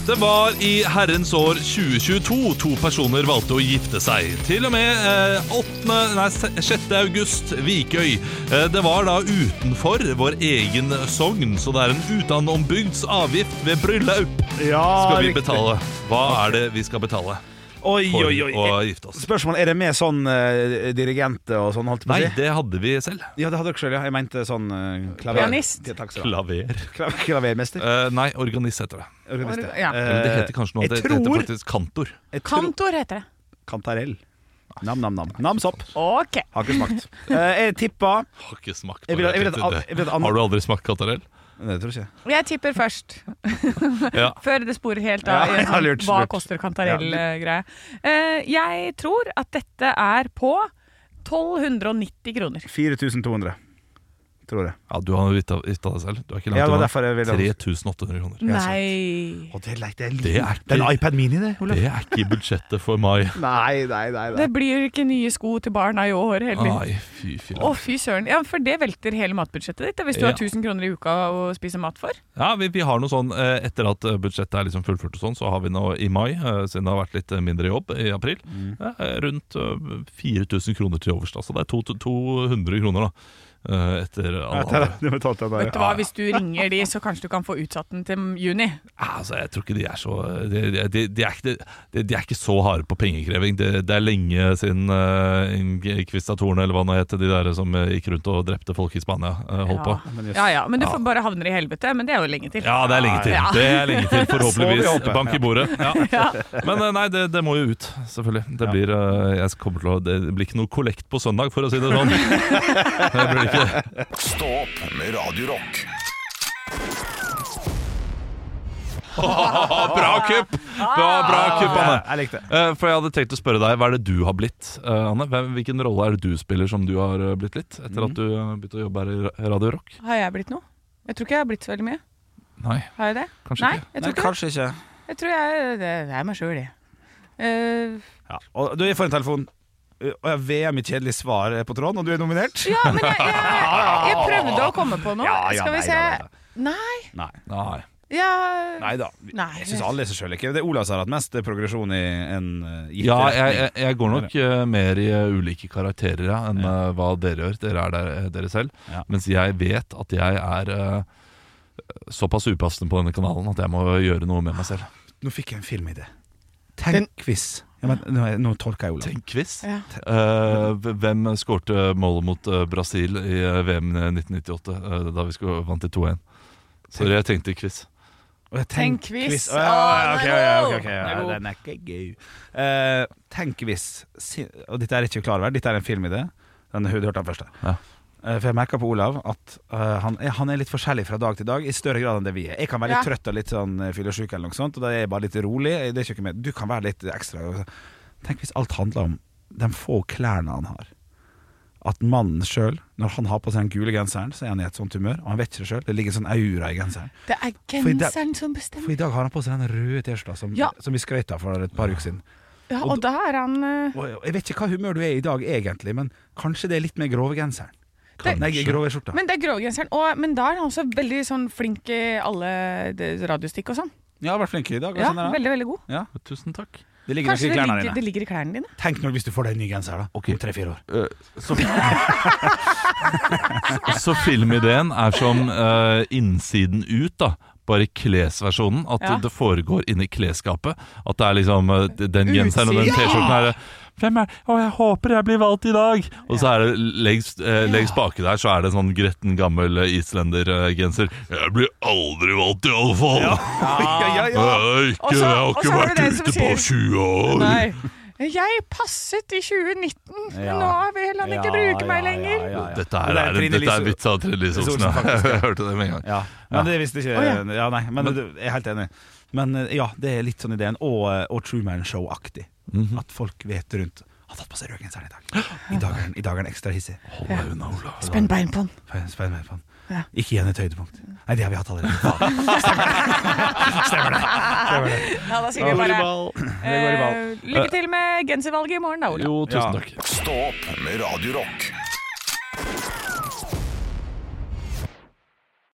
Speaker 5: Det var i herrens år 2022 to personer valgte å gifte seg. Til og med eh, 8, nei, 6. august, Vikøy. Eh, det var da utenfor vår egen sogn, så det er en utanombygds avgift ved bryllup.
Speaker 6: Ja,
Speaker 5: Skal
Speaker 6: Ah,
Speaker 5: vi
Speaker 6: riktig. Ah,
Speaker 5: betale? Hva er det vi skal betale
Speaker 6: Oi,
Speaker 5: for
Speaker 6: oi, oi.
Speaker 5: å gifte oss?
Speaker 6: Spørsmål, er det med sånn eh, dirigente og sånn, holdt jeg på
Speaker 5: Nei,
Speaker 6: å si?
Speaker 5: det hadde vi selv.
Speaker 6: Ja, det hadde dere sjøl, ja. Jeg mente sånn eh, klaver...
Speaker 4: Pianist.
Speaker 6: Ja, Takk skal du ha.
Speaker 5: Klaver.
Speaker 6: Kla- Klavermester.
Speaker 5: Eh, nei, organist heter det.
Speaker 6: Organist,
Speaker 4: Ja.
Speaker 6: Eh,
Speaker 5: Eller det heter kanskje noe
Speaker 6: jeg
Speaker 5: annet. Det heter
Speaker 6: tror-
Speaker 5: faktisk kantor.
Speaker 6: jeg tror-
Speaker 4: Kantor heter det.
Speaker 6: Kantarell. Nam-nam-nam. Namsopp.
Speaker 4: Ok.
Speaker 6: Har ikke smakt. Eh, jeg tippa
Speaker 5: Har ikke smakt på
Speaker 6: Jeg vil- jeg vil
Speaker 5: det.
Speaker 6: at- jeg vil at andre-
Speaker 5: Har du aldri smakt kantarell?
Speaker 6: Nei, Det tror jeg ikke.
Speaker 4: Jeg tipper først.
Speaker 5: Ja.
Speaker 4: Før det sporer helt av.
Speaker 6: Ja,
Speaker 4: i en
Speaker 6: ja,
Speaker 4: sånn
Speaker 6: lurt,
Speaker 4: hva
Speaker 6: lurt.
Speaker 4: koster kantarell-greie. Eh, jeg tror at dette er på 1290 kroner.
Speaker 6: 4200, tror jeg.
Speaker 5: Ja, du har jo gifta deg selv. Du er ikke
Speaker 6: Ja, det
Speaker 5: langt
Speaker 6: var
Speaker 5: unna.
Speaker 6: derfor jeg ville
Speaker 5: 3800 kroner.
Speaker 4: Nei
Speaker 6: Å, det er leit. Det er,
Speaker 5: Det er
Speaker 6: Den
Speaker 5: ikke-
Speaker 6: iPad Mini, det, Olav.
Speaker 5: Det er ikke i budsjettet for meg.
Speaker 6: Nei, nei, nei. nei.
Speaker 4: Det blir ikke nye sko til barna i år
Speaker 6: Ah,
Speaker 4: heller.
Speaker 5: Nei, fy
Speaker 4: Å,
Speaker 5: filler'n.
Speaker 4: fy søren. Ja, for det velter hele matbudsjettet ditt da, hvis du har
Speaker 5: Ja.
Speaker 4: 1000 kroner i uka å spise mat for.
Speaker 5: Ja, vi, vi har noe sånn eh, etter at eh, budsjettet er liksom fullført og sånn, så har vi nå i mai, eh, siden det har vært litt eh, mindre jobb i april, eh, rundt eh, 4000 kroner til overs. da. Så det er to, to, 200 kroner, da. eh, Etter
Speaker 6: Nei,
Speaker 5: alle andre.
Speaker 6: Du betalte den der.
Speaker 4: Vet du hva, hvis du ringer de, så kanskje du kan få utsatt den til juni.
Speaker 5: Altså, jeg tror ikke de er så De, de, de, de, er, ikke, de, de er ikke så harde på pengekreving. Det, det er lenge siden uh, Kvistatorene, eller hva det het, de der som eh, gikk rundt og drepte folk i Spania, eh, holdt på.
Speaker 4: Ja ja, men du får bare havner i helvete. Men det er jo lenge til.
Speaker 5: Ja, det er lenge til.
Speaker 4: Ja.
Speaker 5: Det er lenge
Speaker 6: Så
Speaker 5: til,
Speaker 6: vi
Speaker 5: Forhåpentligvis.
Speaker 6: håper.
Speaker 5: Bank i bordet. Ja. Men eh, nei, det, det må jo ut, selvfølgelig. Det blir, eh, jeg kommer til å, det blir ikke noe kollekt på søndag, for å si det sånn. Det blir ikke
Speaker 3: Stå opp med Radio Rock.
Speaker 5: Ah, Bra kupp! Bra, bra
Speaker 6: Ah.
Speaker 5: kupp, Anne.
Speaker 6: Jeg likte det.
Speaker 5: Eh, For jeg hadde tenkt å spørre deg, hva er det du har blitt, eh, Anne? Hvem, hvilken rolle er det du spiller som du har eh, blitt litt, etter at du eh, begynte å jobbe her i Ra- Radio Rock?
Speaker 4: Har jeg blitt noe? Jeg tror ikke jeg har blitt så veldig mye.
Speaker 5: Nei,
Speaker 4: Har jeg det?
Speaker 5: kanskje
Speaker 4: Nei,
Speaker 5: ikke.
Speaker 4: jeg
Speaker 6: Nei,
Speaker 4: tror ikke det.
Speaker 6: kanskje ikke.
Speaker 4: Jeg tror jeg, det, det er meg sjøl, det. Eh,
Speaker 6: Ja. Og du, jeg får en telefon. Uh, Og jeg VM i kjedelig svar er på tråden, og du er nominert?
Speaker 4: ja, men jeg, jeg, jeg prøvde å komme på noe.
Speaker 6: Ja, ja,
Speaker 4: Skal vi
Speaker 6: nei,
Speaker 4: se
Speaker 6: nei, nei,
Speaker 4: Nei.
Speaker 6: Nei.
Speaker 5: Nei.
Speaker 4: Ja,
Speaker 6: Nei da. Vi-
Speaker 4: Nei.
Speaker 6: Jeg syns alle leser sjøl ikke. Det er Olav som har hatt mest eh, progresjon i en uh, gitt
Speaker 5: Ja, jeg,
Speaker 6: retning.
Speaker 5: jeg, jeg går nok eh, mer i eh, ulike karakterer ja, enn eh, hva dere gjør. Dere er der, eh, dere selv.
Speaker 6: Ja.
Speaker 5: Mens jeg vet at jeg er eh, såpass upassende på denne kanalen at jeg må gjøre noe med meg selv.
Speaker 6: Nå fikk jeg en filmidé. Tenk-quiz. Ja, men nå, er- nå tolker jeg Olav.
Speaker 5: Tenk quiz.
Speaker 4: Ja.
Speaker 5: Eh, hvem skårte målet mot eh, Brasil i eh, VM 1998, eh, da vi skulle vant til 2-1? Så jeg tenkte quiz.
Speaker 6: Å, ja,
Speaker 4: Tenk-quiz.
Speaker 6: tenk-quiz. Å,
Speaker 4: Å,
Speaker 6: Ja,
Speaker 4: den
Speaker 6: ok,
Speaker 4: er
Speaker 6: ja, ok,
Speaker 4: god.
Speaker 6: ok, ja,
Speaker 4: Den er god.
Speaker 6: Den er ikke gøy. Eh, Tenk-quiz. Si- Og dette er ikke klar over, dette er en filmidé. Den har du hørt den først. her.
Speaker 5: Ja.
Speaker 6: Eh, For jeg merker på Olav at eh, han, er- han er litt forskjellig fra dag til dag, i større grad enn det vi er. Jeg kan være litt
Speaker 4: Ja.
Speaker 6: trøtt og litt sånn eh, fyllesyk, eller noe sånt, og da er jeg bare litt rolig. Det er ikke noe mer. Du kan være litt ekstra. Tenk hvis alt handler om de få klærne han har. At mannen sjøl, når han har på seg den gule genseren, så er han i et sånt humør. Og han vet ikke det sjøl. Det ligger en sånn aura i genseren.
Speaker 4: det er
Speaker 6: For i dag-
Speaker 4: genseren som
Speaker 6: For
Speaker 4: bestemmer.
Speaker 6: i dag har han på seg den røde T-skjorta som,
Speaker 4: Ja.
Speaker 6: som vi skrøt av for et par uker siden.
Speaker 4: Ja, og da er han eh,
Speaker 6: Og jeg vet ikke hva humør du er i i dag egentlig, men kanskje det er litt mer grove genseren.
Speaker 4: Det-
Speaker 6: Nei, grove skjorta.
Speaker 4: Men det er grågenseren. Og, men da er han også veldig sånn flink i alle det- radiostikk og sånn.
Speaker 6: Jeg har vært flink i dag.
Speaker 4: Ja,
Speaker 6: sånn er det.
Speaker 4: veldig, veldig god.
Speaker 5: Tusen takk.
Speaker 6: Det ligger nok
Speaker 4: Kanskje
Speaker 6: i
Speaker 4: det
Speaker 6: klærne
Speaker 4: ligger, det
Speaker 6: dine.
Speaker 4: ligger i klærne dine?
Speaker 6: Tenk nå hvis du får deg en ny genser da, om tre-fire år.
Speaker 5: Så, så filmideen er som eh, innsiden ut, da. Bare klesversjonen. At
Speaker 4: Ja.
Speaker 5: det foregår inni klesskapet. At det er liksom eh, d- den genseren og den
Speaker 4: Utsiden.
Speaker 5: T-skjorten er eh, Hvem er Å, jeg håper jeg blir valgt i dag! Og så er det lengst, eh, lengst baki der, så er det en sånn gretten gammel eh, islendergenser. Jeg blir aldri valgt, iallfall! Ja.
Speaker 6: Ja, ja,
Speaker 5: Ja. Jeg,
Speaker 4: Og så-
Speaker 5: jeg har
Speaker 4: og så
Speaker 5: ikke
Speaker 4: har du
Speaker 5: vært
Speaker 4: den som
Speaker 5: ute på
Speaker 4: sier-
Speaker 5: 20 år!
Speaker 4: Nei. Jeg passet i 2019, men
Speaker 6: Ja.
Speaker 4: nå vil han ikke bruke meg lenger.
Speaker 6: Ja, ja.
Speaker 5: Dette, her
Speaker 6: Men det er
Speaker 5: er,
Speaker 6: Trine
Speaker 5: dette
Speaker 6: Lise-
Speaker 5: er vits av Trine Lise Olsen.
Speaker 6: Lise Olsen,
Speaker 5: ja.
Speaker 6: faktisk, ja.
Speaker 5: Jeg hørte det med en gang.
Speaker 6: Ja, men det visste ikke Ja, nei, men du, jeg er helt enig. Mhm. Men eh, ja, det er litt sånn ideen. Og, eh, og Truman Show-aktig. At folk vet rundt. har fått på seg rødgenseren i dag. I dag er den, i dag er den ekstra hissig.
Speaker 5: Hold deg unna, Ola.
Speaker 8: Spenn bein på den.
Speaker 6: Spenn- spenn meg på den.
Speaker 8: Ja.
Speaker 6: Ikke igjen et høydepunkt. Nei, det har vi hatt allerede. Faen.
Speaker 4: Ja, da sier vi bare
Speaker 6: Det går i ball.
Speaker 4: eh, lykke til med genservalget i morgen, da, Ola.
Speaker 5: Jo, tusen takk.
Speaker 3: Stå opp med Radio Rock.